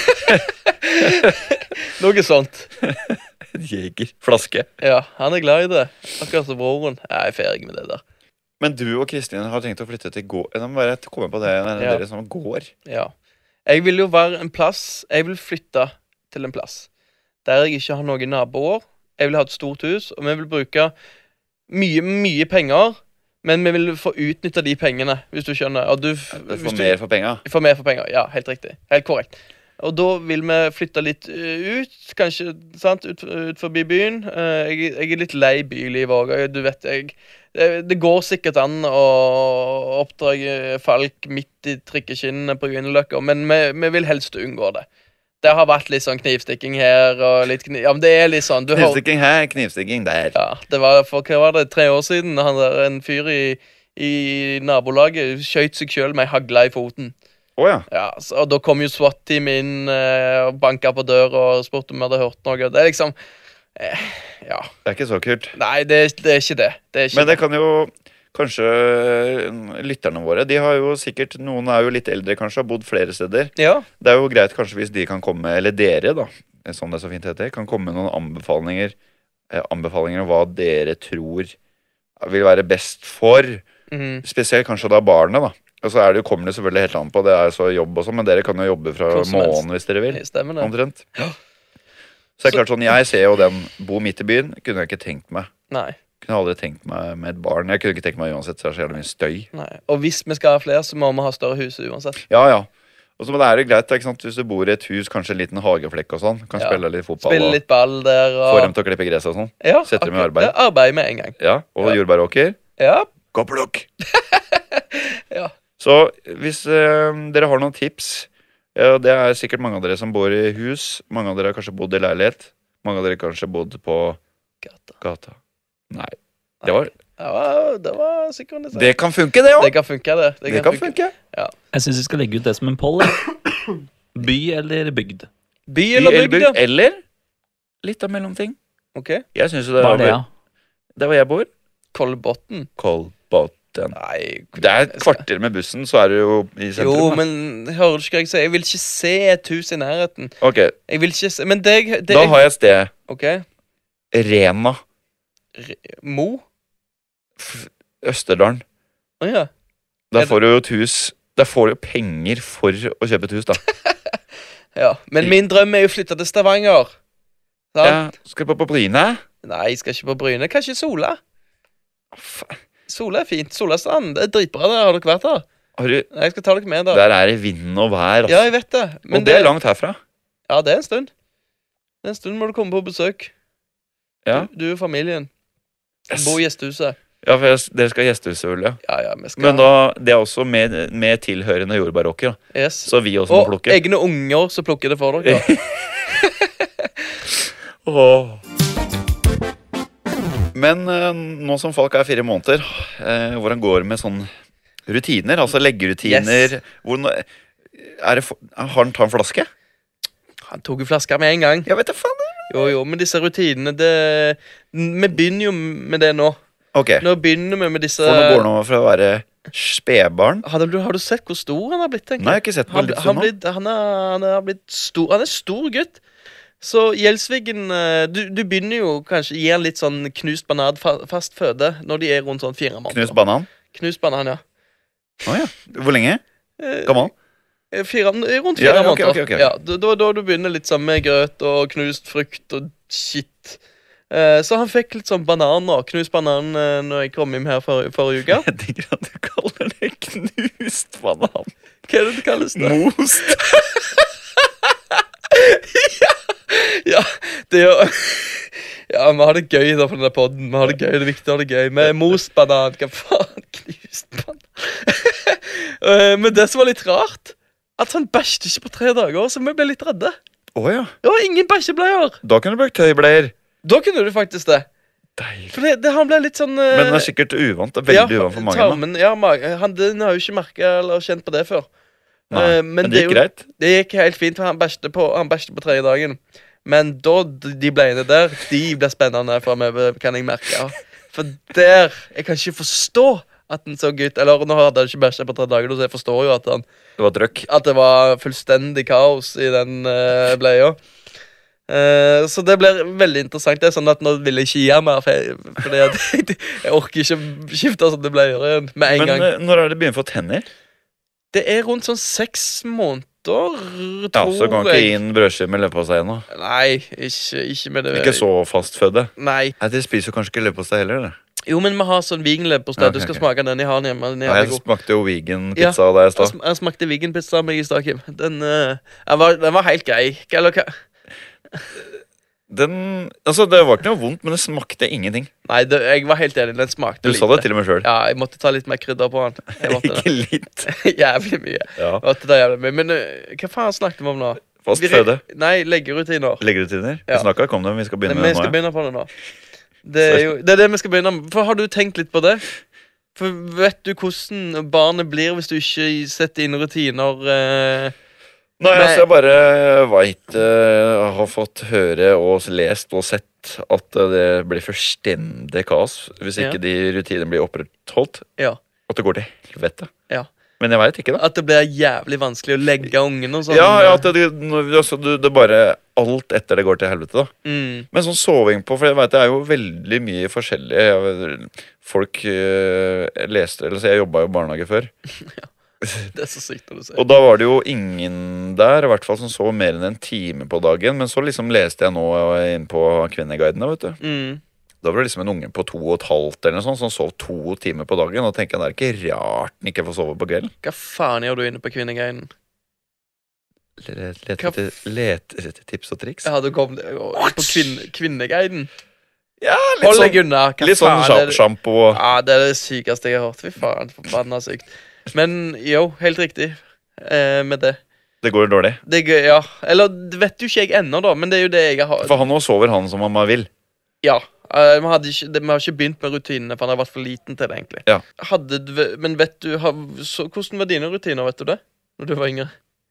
Speaker 2: noe sånt.
Speaker 1: Jeger. Flaske.
Speaker 2: Ja, han er glad i det. Akkurat som broren. Jeg er ferdig med det der.
Speaker 1: Men du og Kristin har tenkt å flytte til gård Jeg må bare komme på det. det er
Speaker 2: Ja.
Speaker 1: Dere som går.
Speaker 2: Ja. Jeg vil jo være en plass Jeg vil flytte til en plass der jeg ikke har noen naboer. Jeg vil ha et stort hus, og vi vil bruke mye, mye penger. Men vi vil få utnytta de pengene, hvis du skjønner. Og du,
Speaker 1: Du
Speaker 2: hvis
Speaker 1: får
Speaker 2: du,
Speaker 1: mer for penga.
Speaker 2: Vi får mer for penger. Ja, helt riktig. Helt korrekt. Og da vil vi flytte litt eh, ut, kanskje sant, ut, ut forbi byen. Eh, jeg, jeg er litt lei bylivet òg. Du vet, jeg det, det går sikkert an å oppdra falk midt i trikkeskinnene på Grünerløkka, men vi, vi vil helst unngå det. Det har vært litt sånn knivstikking her og litt kniv... Ja, men det er litt sånn du hører-
Speaker 1: Knivstikking her, knivstikking der.
Speaker 2: ja, det var for hva var det, tre år siden han der, en fyr i, i nabolaget skjøt seg sjøl med ei hagle i foten.
Speaker 1: Å ja.
Speaker 2: Ja, så, og da kom jo SWAT-teamet inn eh, og banka på døra og spurte om vi hadde hørt noe. Det er liksom eh, Ja.
Speaker 1: Det er ikke så kult.
Speaker 2: Nei, det, er- det er ikke det. Det er ikke
Speaker 1: Men det kan jo Kanskje øh, lytterne våre De har jo sikkert, Noen er jo litt eldre, kanskje, har bodd flere steder.
Speaker 2: det. Ja.
Speaker 1: Det er jo greit kanskje hvis de kan komme, eller dere, da, som det så fint heter, kan komme med noen anbefalinger, eh, anbefalinger om hva dere tror vil være best for
Speaker 2: Mhm.
Speaker 1: Spesielt kanskje da barnet, da. Og så er det jo, kommer det selvfølgelig helt an på, det er jo så jobb og sånn, men dere kan jo jobbe fra
Speaker 2: Hvor som helst.
Speaker 1: månen hvis dere vil.
Speaker 2: Det Stemmer det.
Speaker 1: Omtrent. Så det er klart sånn, jeg ser jo den bo midt i byen, kunne jeg ikke tenkt meg.
Speaker 2: Nei,
Speaker 1: Kunne aldri tenkt meg med et barn. Jeg kunne ikke tenkt meg uansett, så er det så jævlig mye støy.
Speaker 2: nei. Og hvis vi skal ha flere, så må vi ha større hus uansett.
Speaker 1: Ja, ja. Og så men det er jo greit, ikke sant, hvis du bor i et hus, kanskje en liten hageflekk og sånn, kan
Speaker 2: Ja.
Speaker 1: spille litt fotball
Speaker 2: Spille litt ball der
Speaker 1: og få dem
Speaker 2: og
Speaker 1: til å klippe gress og sånn.
Speaker 2: ja,
Speaker 1: sette dem i
Speaker 2: akkurat.
Speaker 1: arbeid.
Speaker 2: Ja, arbeid med en gang.
Speaker 1: Ja, og
Speaker 2: Ja.
Speaker 1: jordbæråker.
Speaker 2: Ja.
Speaker 1: Gå og plukk!
Speaker 2: Ja.
Speaker 1: Så hvis eh, dere har noen tips ja, Det er sikkert mange av dere som bor i hus. Mange av dere har kanskje bodd i leilighet. Mange av dere har kanskje bodd på
Speaker 2: Gata.
Speaker 1: gata. Nei. Det, var,
Speaker 2: Det var, det var synkronisert.
Speaker 1: det kan funke, det òg!
Speaker 2: Det kan funke, det.
Speaker 1: Det, kan funke.
Speaker 3: Jeg syns vi skal legge ut det som en poll. jeg. By eller bygd?
Speaker 2: By
Speaker 1: I
Speaker 2: eller bygd, ja.
Speaker 1: Elbygd eller litt av mellomting.
Speaker 2: Ok.
Speaker 1: Jeg syns jo det
Speaker 3: Hva
Speaker 1: var
Speaker 3: er det, ja?
Speaker 1: Der hvor jeg bor.
Speaker 2: Kolbotn.
Speaker 1: Kolbotn. den.
Speaker 2: Nei
Speaker 1: Det er et kvarter med bussen, så er du jo i
Speaker 2: Jo,
Speaker 1: sentrum. da.
Speaker 2: men hører du ikke hva jeg sier? Jeg vil ikke se et hus i nærheten.
Speaker 1: Ok,
Speaker 2: Jeg vil ikke se Men det jeg det
Speaker 1: da
Speaker 2: jeg-
Speaker 1: har jeg et sted.
Speaker 2: OK.
Speaker 1: Rena.
Speaker 2: Mo?
Speaker 1: F- Østerdalen.
Speaker 2: Å ja. Er
Speaker 1: Der
Speaker 2: det-
Speaker 1: får du jo et hus Der får du jo penger for å kjøpe et hus, da.
Speaker 2: ja. Men min drøm er jo å flytte til Stavanger. Sant?
Speaker 1: Ja, skal du på Bryne?
Speaker 2: Nei, jeg skal ikke på Bryne. Kanskje Sola?
Speaker 1: Fa-
Speaker 2: Sola er fint. Solastrand. Det er dritbra der. Har dere vært der?
Speaker 1: Har du,
Speaker 2: Nei, Jeg skal ta dere med der.
Speaker 1: der er det vind og vær,
Speaker 2: Ja,
Speaker 1: altså.
Speaker 2: jeg vet det.
Speaker 1: Og det er langt herfra.
Speaker 2: Ja, det er en stund. Det er en stund må du komme på besøk.
Speaker 1: Ja.
Speaker 2: Du, du og familien.
Speaker 1: Yes.
Speaker 2: Bo i gjestehuset.
Speaker 1: Ja, for jeg, Dere skal gjestehuset, vel? Ja.
Speaker 2: Ja, ja, vi skal
Speaker 1: Men da, det er også med, med tilhørende jordbæråker. da.
Speaker 2: yes.
Speaker 1: Så vi også må
Speaker 2: Og
Speaker 1: plukke.
Speaker 2: egne unger som plukker det for dere.
Speaker 1: Åh. Men eh, nå som folk er fire måneder, eh, hvordan går det med sånn rutiner? Altså leggerutiner hvordan, er det, for- Har han tatt en flaske?
Speaker 2: Han tok jo flaska med en gang.
Speaker 1: Jeg vet da faen! jeg.
Speaker 2: Jo, jo, men disse rutinene det... Vi begynner jo med det nå.
Speaker 1: Ok,
Speaker 2: Nå begynner vi med disse
Speaker 1: For nå går det over fra å være spedbarn
Speaker 2: Har du, har du sett hvor stor han har blitt? tenker
Speaker 1: Nei, jeg har ikke sett på
Speaker 2: Han,
Speaker 1: en liten
Speaker 2: han,
Speaker 1: stund nå.
Speaker 2: blitt, han, er, han er blitt stor Han er stor gutt. Så Gjelsvigen eh, du, du begynner jo kanskje å gi han litt sånn knust banan fa fast føde når de er rundt sånn fire måneder.
Speaker 1: Knust banan.
Speaker 2: Knust banan, ja.
Speaker 1: Å ja. Hvor lenge?
Speaker 2: Eh,
Speaker 1: Gammel?
Speaker 2: eh, Fire, rundt fire
Speaker 1: Ja, ja, ok,
Speaker 2: måneder.
Speaker 1: ok, ok.
Speaker 2: Ja, da, da, da du begynner litt sånn med grøt og knust frukt og shit. Eh, Så han fikk litt sånn bananer. Knust banan eh, når jeg kom hjem her for, forrige uke.
Speaker 1: Jeg tenker at du kaller det knust banan.
Speaker 2: Hva er det det kalles? det?
Speaker 1: Most.
Speaker 2: Ja, det er jo Ja, vi har det gøy da på denne podden. Vi har det gøy, det er viktig å ha det gøy. Vi er most banan. Hva faen? Knust banan. Eh, Men det som var litt rart, at han bæsjte ikke på tre dager, så vi ble litt redde.
Speaker 1: Å ja.
Speaker 2: Det var ingen bæsjebleier.
Speaker 1: Da kunne du brukt tøybleier.
Speaker 2: Da kunne du faktisk det.
Speaker 1: Deilig.
Speaker 2: For det, det, han ble litt sånn eh,
Speaker 1: Men den er sikkert uvant. det er Veldig uvant for mange. da.
Speaker 2: Tarmen, ja, ma- han den har jo ikke merka eller kjent på det før.
Speaker 1: Nei,
Speaker 2: Eh,
Speaker 1: Men det
Speaker 2: er
Speaker 1: gikk
Speaker 2: jo-
Speaker 1: greit.
Speaker 2: Det gikk helt fint, for han bæsjte på, han bæsjte på tredje dagen. Men da d- de ble inne der, de ble spennende framover, kan jeg merke. For der Jeg kan ikke forstå at en sånn gutt Eller nå hadde han ikke bæsja på tre dager, så jeg forstår jo at, han,
Speaker 1: Det var trøkk.
Speaker 2: at det var fullstendig kaos i den eh, bleia. Eh, så det blir veldig interessant. Det er sånn at Nå vil jeg ikke gi ham mer, for jeg, fordi at, jeg orker ikke skifte sånne bleier igjen med en
Speaker 1: Men
Speaker 2: gang.
Speaker 1: eh, når er det begynner å få tenner?
Speaker 2: Det er rundt sånn seks måneder,
Speaker 1: Ja,
Speaker 2: tror
Speaker 1: Så kan ikke
Speaker 2: jeg.
Speaker 1: gi en brødskive med leverpostei ennå.
Speaker 2: Nei, ikke, ikke med det
Speaker 1: Ikke så fastfødde.
Speaker 2: Nei.
Speaker 1: Nei, Dere spiser jo kanskje ikke leverpostei heller. Det.
Speaker 2: Jo, men vi har sånn wiegenleverpostei.
Speaker 1: Ja, ok,
Speaker 2: du skal
Speaker 1: ok.
Speaker 2: smake den. Jeg har den hjemme. Den
Speaker 1: Nei,
Speaker 2: er
Speaker 1: jeg
Speaker 2: jævlig god.
Speaker 1: smakte jo vegan
Speaker 2: Ja.
Speaker 1: pizza av deg i
Speaker 2: Jeg
Speaker 1: stad.
Speaker 2: sm- jeg smakte wiegenpizza med i stad, Kim. Den, eh, den, var, den var helt grei. Hva- Eller hva?
Speaker 1: Den, altså Det var ikke noe vondt, men det smakte ingenting.
Speaker 2: Nei, det, jeg var helt enig. Den smakte
Speaker 1: Du sa det til og med sjøl.
Speaker 2: Ja, jeg måtte ta litt mer krydder på den. Jeg måtte det.
Speaker 1: ikke litt.
Speaker 2: jævlig mye.
Speaker 1: Ja.
Speaker 2: Jeg måtte ta jævlig mye. Men eh, hva faen snakker vi om nå? Vi-
Speaker 1: Fastføde.
Speaker 2: Nei, leggerutiner.
Speaker 1: Leggerutiner.
Speaker 2: Ja.
Speaker 1: Vi snakka ikke om dem, vi skal begynne
Speaker 2: Men vi
Speaker 1: med det
Speaker 2: skal
Speaker 1: nå.
Speaker 2: begynne på det nå. Det er jo det, er det vi skal begynne med. For Har du tenkt litt på det? For Vet du hvordan barnet blir hvis du ikke setter inn rutiner? eh?
Speaker 1: Ja. Nei,
Speaker 2: Nei.
Speaker 1: altså, jeg bare veit eh, Har fått høre og lest og sett at eh, det blir fullstendig kaos hvis
Speaker 2: Ja.
Speaker 1: ikke de rutinene blir opprettholdt.
Speaker 2: Ja.
Speaker 1: At det går til helvete.
Speaker 2: Ja.
Speaker 1: Men jeg veit ikke, da.
Speaker 2: At det blir jævlig vanskelig å legge ungen og sånn?
Speaker 1: Ja, ja at det, det- når- altså, du, det er bare Alt etter det går til helvete, da.
Speaker 2: Mm,
Speaker 1: Men sånn soving på For jeg vet, det er jo veldig mye forskjellig Jeg vet, Folk øh, jeg leste Eller så jeg jobba jo i barnehage før.
Speaker 2: det er så sykt når du sier.
Speaker 1: Og da var det jo ingen der i hvert fall som sov mer enn en time på dagen. Men så liksom leste jeg nå øh, inn på Kvinneguidene, vet du.
Speaker 2: Mm,
Speaker 1: Da var det liksom en unge på to og et halvt eller noe sånt som sov to timer på dagen. Og tenker jeg det er ikke rart den ikke får sove på kvelden.
Speaker 2: hva faen gjør du inne på Kvinneguiden?
Speaker 1: Leter
Speaker 2: Hva-
Speaker 1: etter- Leter etter tips og triks.
Speaker 2: Ja, du kom på kvinne, Kvinneguiden?
Speaker 1: Ja, litt
Speaker 2: Hold
Speaker 1: sånn,
Speaker 2: deg unna! Hva
Speaker 1: litt sånn
Speaker 2: faen er det-
Speaker 1: sjampo og
Speaker 2: Ja, det er det sykeste jeg har hørt. Fy faen, forbanna sykt. Men jo, helt riktig eh, med det.
Speaker 1: Det går dårlig.
Speaker 2: Det er gøy, ja. Eller det vet jo ikke jeg ennå, da, men det er jo det jeg har
Speaker 1: For han nå sover han som han bare vil.
Speaker 2: Ja. eh, Vi, hadde ikke, det, vi har ikke begynt med rutinene, for han har vært for liten til det, egentlig.
Speaker 1: Ja.
Speaker 2: Hadde du, men vet du har, så, Hvordan var dine rutiner, vet du det? Når du var yngre?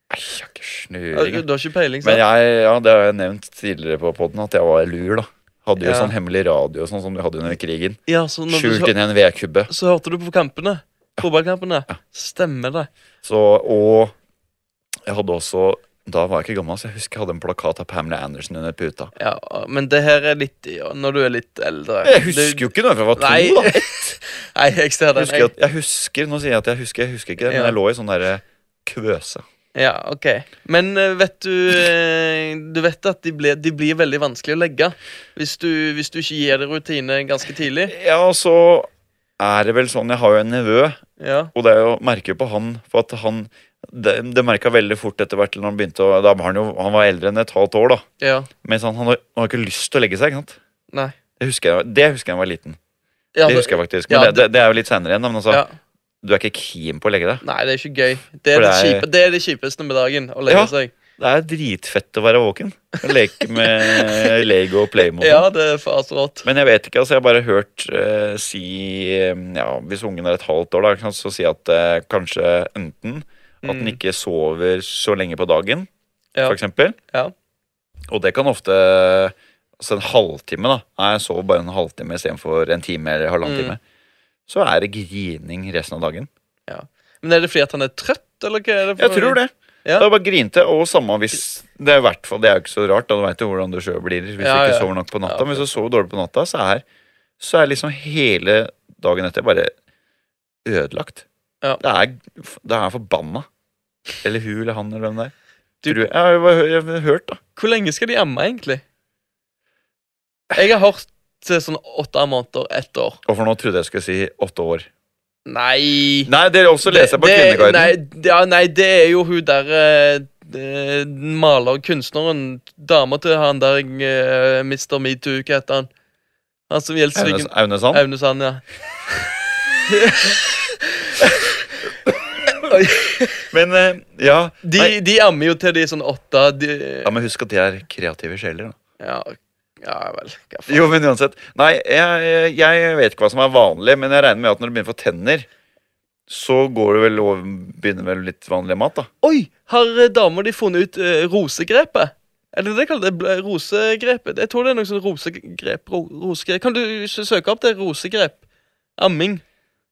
Speaker 1: Nei, jeg har ikke
Speaker 2: Eh,
Speaker 1: snøring.
Speaker 2: Du har ikke
Speaker 1: Men
Speaker 2: peiling, sant?
Speaker 1: jeg, ja, det har jeg nevnt tidligere på podden at jeg var lur, da. Hadde jo
Speaker 2: Ja.
Speaker 1: sånn hemmelig radio og sånn som de hadde under krigen.
Speaker 2: Ja, så, når du,
Speaker 1: Skjult
Speaker 2: hør-
Speaker 1: inn i en vedkubbe.
Speaker 2: så hørte du på kampene. Fotballkampene. Stemmer det.
Speaker 1: Så, og jeg hadde også Da var jeg ikke gammel, så jeg husker jeg hadde en plakat av Pamela Anderson under puta.
Speaker 2: Ja, men det her er litt ja, Når du er litt eldre.
Speaker 1: Jeg husker jo ikke noe fra jeg var to,
Speaker 2: Nei.
Speaker 1: da.
Speaker 2: Nei, jeg ser
Speaker 1: Jeg
Speaker 2: den.
Speaker 1: husker, at, jeg husker, nå sier jeg at jeg husker, jeg husker ikke det, men
Speaker 2: Ja.
Speaker 1: jeg lå i sånn derre kvøse.
Speaker 2: Ja, ok. Men eh, vet du eh, Du vet at de, ble, de blir veldig vanskelig å legge hvis du, hvis du ikke gir det rutine ganske tidlig.
Speaker 1: Ja, og så er det vel sånn Jeg har jo en nevø,
Speaker 2: Ja,
Speaker 1: og det er jo merker jo på han For at han Det, det merka veldig fort etter hvert når han begynte å Da var han jo Han var eldre enn et halvt år, da.
Speaker 2: ja,
Speaker 1: Mens han, han, har, han har ikke lyst til å legge seg, ikke sant?
Speaker 2: nei.
Speaker 1: Det husker jeg, det husker jeg da jeg var liten.
Speaker 2: Ja,
Speaker 1: det husker jeg faktisk. Men
Speaker 2: ja,
Speaker 1: det, det, det er jo litt senere igjen, da. Men altså,
Speaker 2: ja.
Speaker 1: du er ikke keen på å legge deg.
Speaker 2: Nei, det er ikke gøy. Det er
Speaker 1: For det
Speaker 2: det,
Speaker 1: er-
Speaker 2: kjipe, det, er det kjipeste med dagen. Å legge
Speaker 1: Ja.
Speaker 2: seg.
Speaker 1: Det er dritfett å være våken. Å Leke med Lego og Playmobil.
Speaker 2: Ja, det er faen så rått.
Speaker 1: Men jeg vet ikke, altså. Jeg har bare hørt eh, si eh, Ja, hvis ungen er et halvt år, da, ikke sant, så si at eh, kanskje enten at den
Speaker 2: Mm.
Speaker 1: ikke sover så lenge på dagen,
Speaker 2: Ja.
Speaker 1: for eksempel.
Speaker 2: Ja.
Speaker 1: Og det kan ofte Altså en halvtime, da. Nei, jeg sover bare en halvtime istedenfor en time eller halvannen
Speaker 2: Mm.
Speaker 1: time. Så er det grining resten av dagen.
Speaker 2: Men er det fordi at han er trøtt, eller hva er det?
Speaker 1: Jeg tror det.
Speaker 2: Ja.
Speaker 1: Det er bare grinte, og samme hvis Det er, i hvert fall, det er jo ikke så rart, da du veit jo hvordan du sjøl blir hvis
Speaker 2: Ja,
Speaker 1: du
Speaker 2: ja.
Speaker 1: ikke sover nok på natta.
Speaker 2: Ja,
Speaker 1: Men hvis du sover dårlig på natta, så er, så er liksom hele dagen etter bare ødelagt.
Speaker 2: Ja.
Speaker 1: Det, er, det er forbanna. Eller hun eller han eller hvem det er.
Speaker 2: Du-
Speaker 1: Tror jeg, jeg, har hø- jeg har hørt, da.
Speaker 2: Hvor lenge skal de amme, egentlig? Jeg har hørt til sånn åtte måneder, ett år.
Speaker 1: Og for nå trodde jeg skulle si åtte år.
Speaker 2: Nei
Speaker 1: Nei, dere også leser jeg på
Speaker 2: Det- det-
Speaker 1: Kvinneguiden.
Speaker 2: Nei, ja, nei, det er jo hun der eh, eh, maler, kunstneren, dama til han der eh, Mr. Metoo, hva heter han? Han som gjelder
Speaker 1: Aune-
Speaker 2: Sviggen
Speaker 1: Aune Sand.
Speaker 2: Aune Sand, ja. Oi.
Speaker 1: Men eh, ja, nei,
Speaker 2: De, de ammer jo til de er sånn åtte de,
Speaker 1: ja Men husk at de er kreative sjeler, da.
Speaker 2: ja, ja vel, hva faen.
Speaker 1: Jo, men uansett. Nei, jeg, jeg vet ikke hva som er vanlig, men jeg regner med at når du begynner å få tenner, så går det vel over, begynner vel litt vanlig mat, da.
Speaker 2: Oi, har eh, damer de funnet ut eh, rosegrepet? Er det det de kaller det? Bl- Rosegrepet? Jeg tror det er noe sånn rosegrep, ro, rosegrep. Kan du ikke søke opp det? Rosegrep. Amming.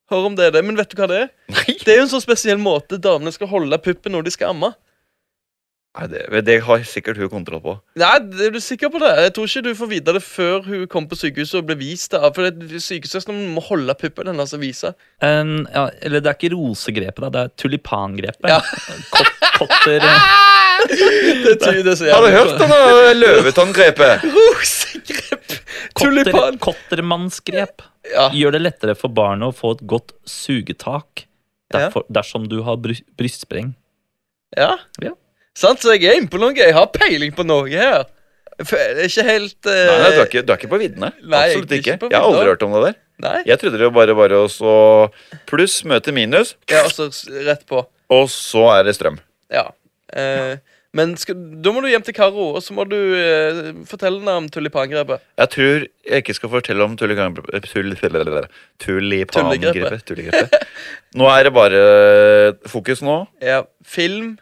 Speaker 2: Hør om det er det. Men vet du hva det er?
Speaker 1: Nei,
Speaker 2: Det er jo en sånn spesiell måte damene skal holde puppen når de skal amme.
Speaker 1: det, det har sikkert hun kontroll på.
Speaker 2: Nei, det- Er du sikker på det? Jeg tror ikke du får vite det før hun kom på sykehuset og ble vist det. For det- sykesøsteren må holde puppen hennes og vise.
Speaker 3: En, ja, eller det er ikke rosegrepet, da, det er tulipangrepet.
Speaker 2: Ja.
Speaker 3: Kott, kotter
Speaker 2: Det tror jeg det er så
Speaker 1: Har du
Speaker 2: jævlig
Speaker 1: hørt om det løvetanngrepet?
Speaker 2: Rosegrep!
Speaker 3: kotter,
Speaker 2: Tulipan.
Speaker 3: Kottermannsgrep.
Speaker 1: Ah.
Speaker 2: Ja.
Speaker 3: Gjør det lettere for barnet å få et godt sugetak
Speaker 2: Ja.
Speaker 3: derfor, dersom du har bry brystspreng.
Speaker 2: Ja.
Speaker 3: Ja.
Speaker 2: Sant, så jeg er inne på noe. Jeg har peiling på noe her. F- det er Ikke helt
Speaker 1: Nei,
Speaker 2: eh,
Speaker 1: nei, du er ikke, du er ikke på viddene.
Speaker 2: Nei,
Speaker 1: Absolutt
Speaker 2: jeg er ikke
Speaker 1: ikke.
Speaker 2: på
Speaker 1: Jeg har aldri
Speaker 2: vidda.
Speaker 1: hørt om det der.
Speaker 2: Nei.
Speaker 1: Jeg trodde det var bare bare å så pluss møte minus,
Speaker 2: Ja, altså s- rett på.
Speaker 1: og så er det strøm.
Speaker 2: Ja. Eh, men skal, da må du hjem til Karo, og så må du eh, fortelle henne om tulipangrepet.
Speaker 1: Jeg tror jeg ikke skal fortelle om tulikan- tul- tulipangrepet.
Speaker 2: Tullegrepet.
Speaker 1: Tullegrepet. Nå er det bare fokus nå.
Speaker 2: Ja, film.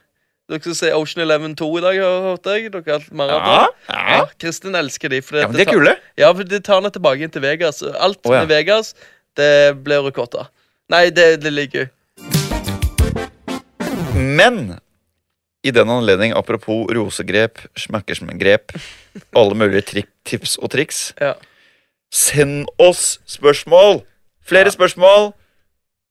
Speaker 2: Dere skal se Ocean Eleven 2 i dag, har- hørte jeg. Dere har alt
Speaker 1: Ja,
Speaker 2: maraton.
Speaker 1: ja.
Speaker 2: Kristin elsker de. For
Speaker 1: ja, men de er
Speaker 2: tar-
Speaker 1: kule.
Speaker 2: Ja, for det tar henne tilbake inn til Vegas. Alt som
Speaker 1: Å, ja.
Speaker 2: er Vegas, det blir rekorda. Nei, det, det ligger jo
Speaker 1: Men i den anledning, apropos rosegrep, smakkersmegrep, alle mulige tri tips og triks
Speaker 2: Ja.
Speaker 1: Send oss spørsmål! Flere
Speaker 2: Ja.
Speaker 1: spørsmål!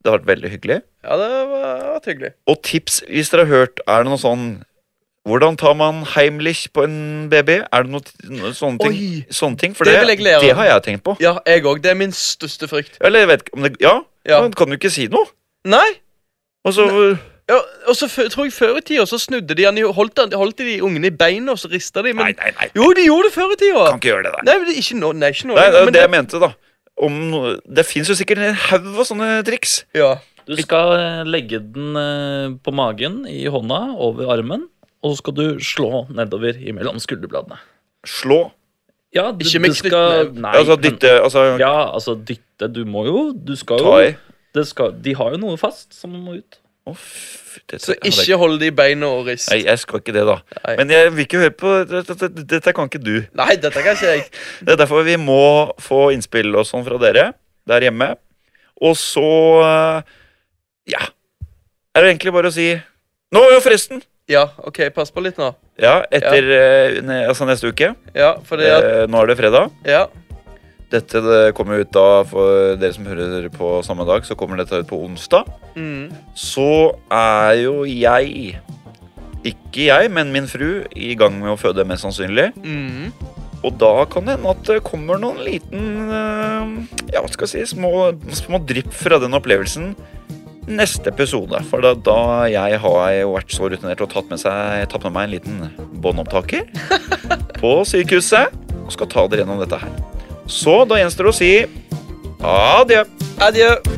Speaker 1: Det har vært veldig hyggelig.
Speaker 2: Ja, det var, det var hyggelig.
Speaker 1: Og tips hvis dere har hørt, er det noe sånn Hvordan tar man Heimlich på en baby? Er det noe, t- noe sånne ting?
Speaker 2: Oi.
Speaker 1: Sånne ting? For
Speaker 2: Det
Speaker 1: det,
Speaker 2: vil jeg
Speaker 1: det,
Speaker 2: lære.
Speaker 1: har jeg tenkt på.
Speaker 2: Ja, jeg òg. Det er min største frykt.
Speaker 1: Eller jeg vet ikke om det Ja,
Speaker 2: Ja.
Speaker 1: men kan du ikke si noe?
Speaker 2: Nei!
Speaker 1: Og så
Speaker 2: Ja, og så fø- tror jeg Før i tida så snudde de han i- holdt, han- holdt de ungene i beina og så rista de. Men
Speaker 1: Nei, nei, nei.
Speaker 2: jo, de gjorde det før i tida.
Speaker 1: Kan ikke gjøre det der.
Speaker 2: Nei, men det er ikke nå. Nei, ikke
Speaker 1: Nei,
Speaker 2: nå
Speaker 1: det er
Speaker 2: men
Speaker 1: jo det jeg mente, da. Om, noe- det fins jo sikkert en haug av sånne triks.
Speaker 2: ja.
Speaker 3: Du skal eh, legge den eh, på magen i hånda, over armen, og så skal du slå nedover imellom skulderbladene.
Speaker 1: Slå.
Speaker 3: Ja, du,
Speaker 2: Ikke med
Speaker 3: du skal-
Speaker 2: knyttneve.
Speaker 3: Nei,
Speaker 1: altså
Speaker 3: men-
Speaker 1: dytte Altså
Speaker 3: Ja, altså dytte. Du må jo Du skal
Speaker 1: ta i.
Speaker 3: jo det skal, De har jo noe fast som må ut.
Speaker 1: Å, fy, dette
Speaker 2: Så
Speaker 1: hadde jeg
Speaker 2: ikke hold det i beina og rist.
Speaker 1: Nei, jeg skal ikke det, da.
Speaker 2: Nei.
Speaker 1: Men jeg vil ikke høre på Dette, dette- dette kan ikke du.
Speaker 2: Nei, dette kan ikke jeg.
Speaker 1: Det er derfor vi må få innspill og sånn fra dere der hjemme. Og så eh, Ja. Er det egentlig bare å si Nå, jo, forresten!
Speaker 2: Ja, OK, pass på litt nå.
Speaker 1: Ja, etter eh, ne- Altså neste uke.
Speaker 2: Ja, fordi at
Speaker 1: Eh, Nå er det fredag.
Speaker 2: Ja.
Speaker 1: Dette det kommer ut da for dere som hører på samme dag, så kommer dette ut på onsdag.
Speaker 2: Mm.
Speaker 1: Så er jo jeg Ikke jeg, men min fru i gang med å føde, mest sannsynlig.
Speaker 2: Mm.
Speaker 1: Og da kan det hende at det kommer noen liten eh, Ja, hva skal jeg si Små, små drypp fra den opplevelsen neste episode. For da, da jeg har jo vært så rutinert og tatt med, seg, tatt med meg en liten båndopptaker på sykehuset og skal ta dere gjennom dette her. Så da gjenstår det å si adjø.
Speaker 2: Adjø.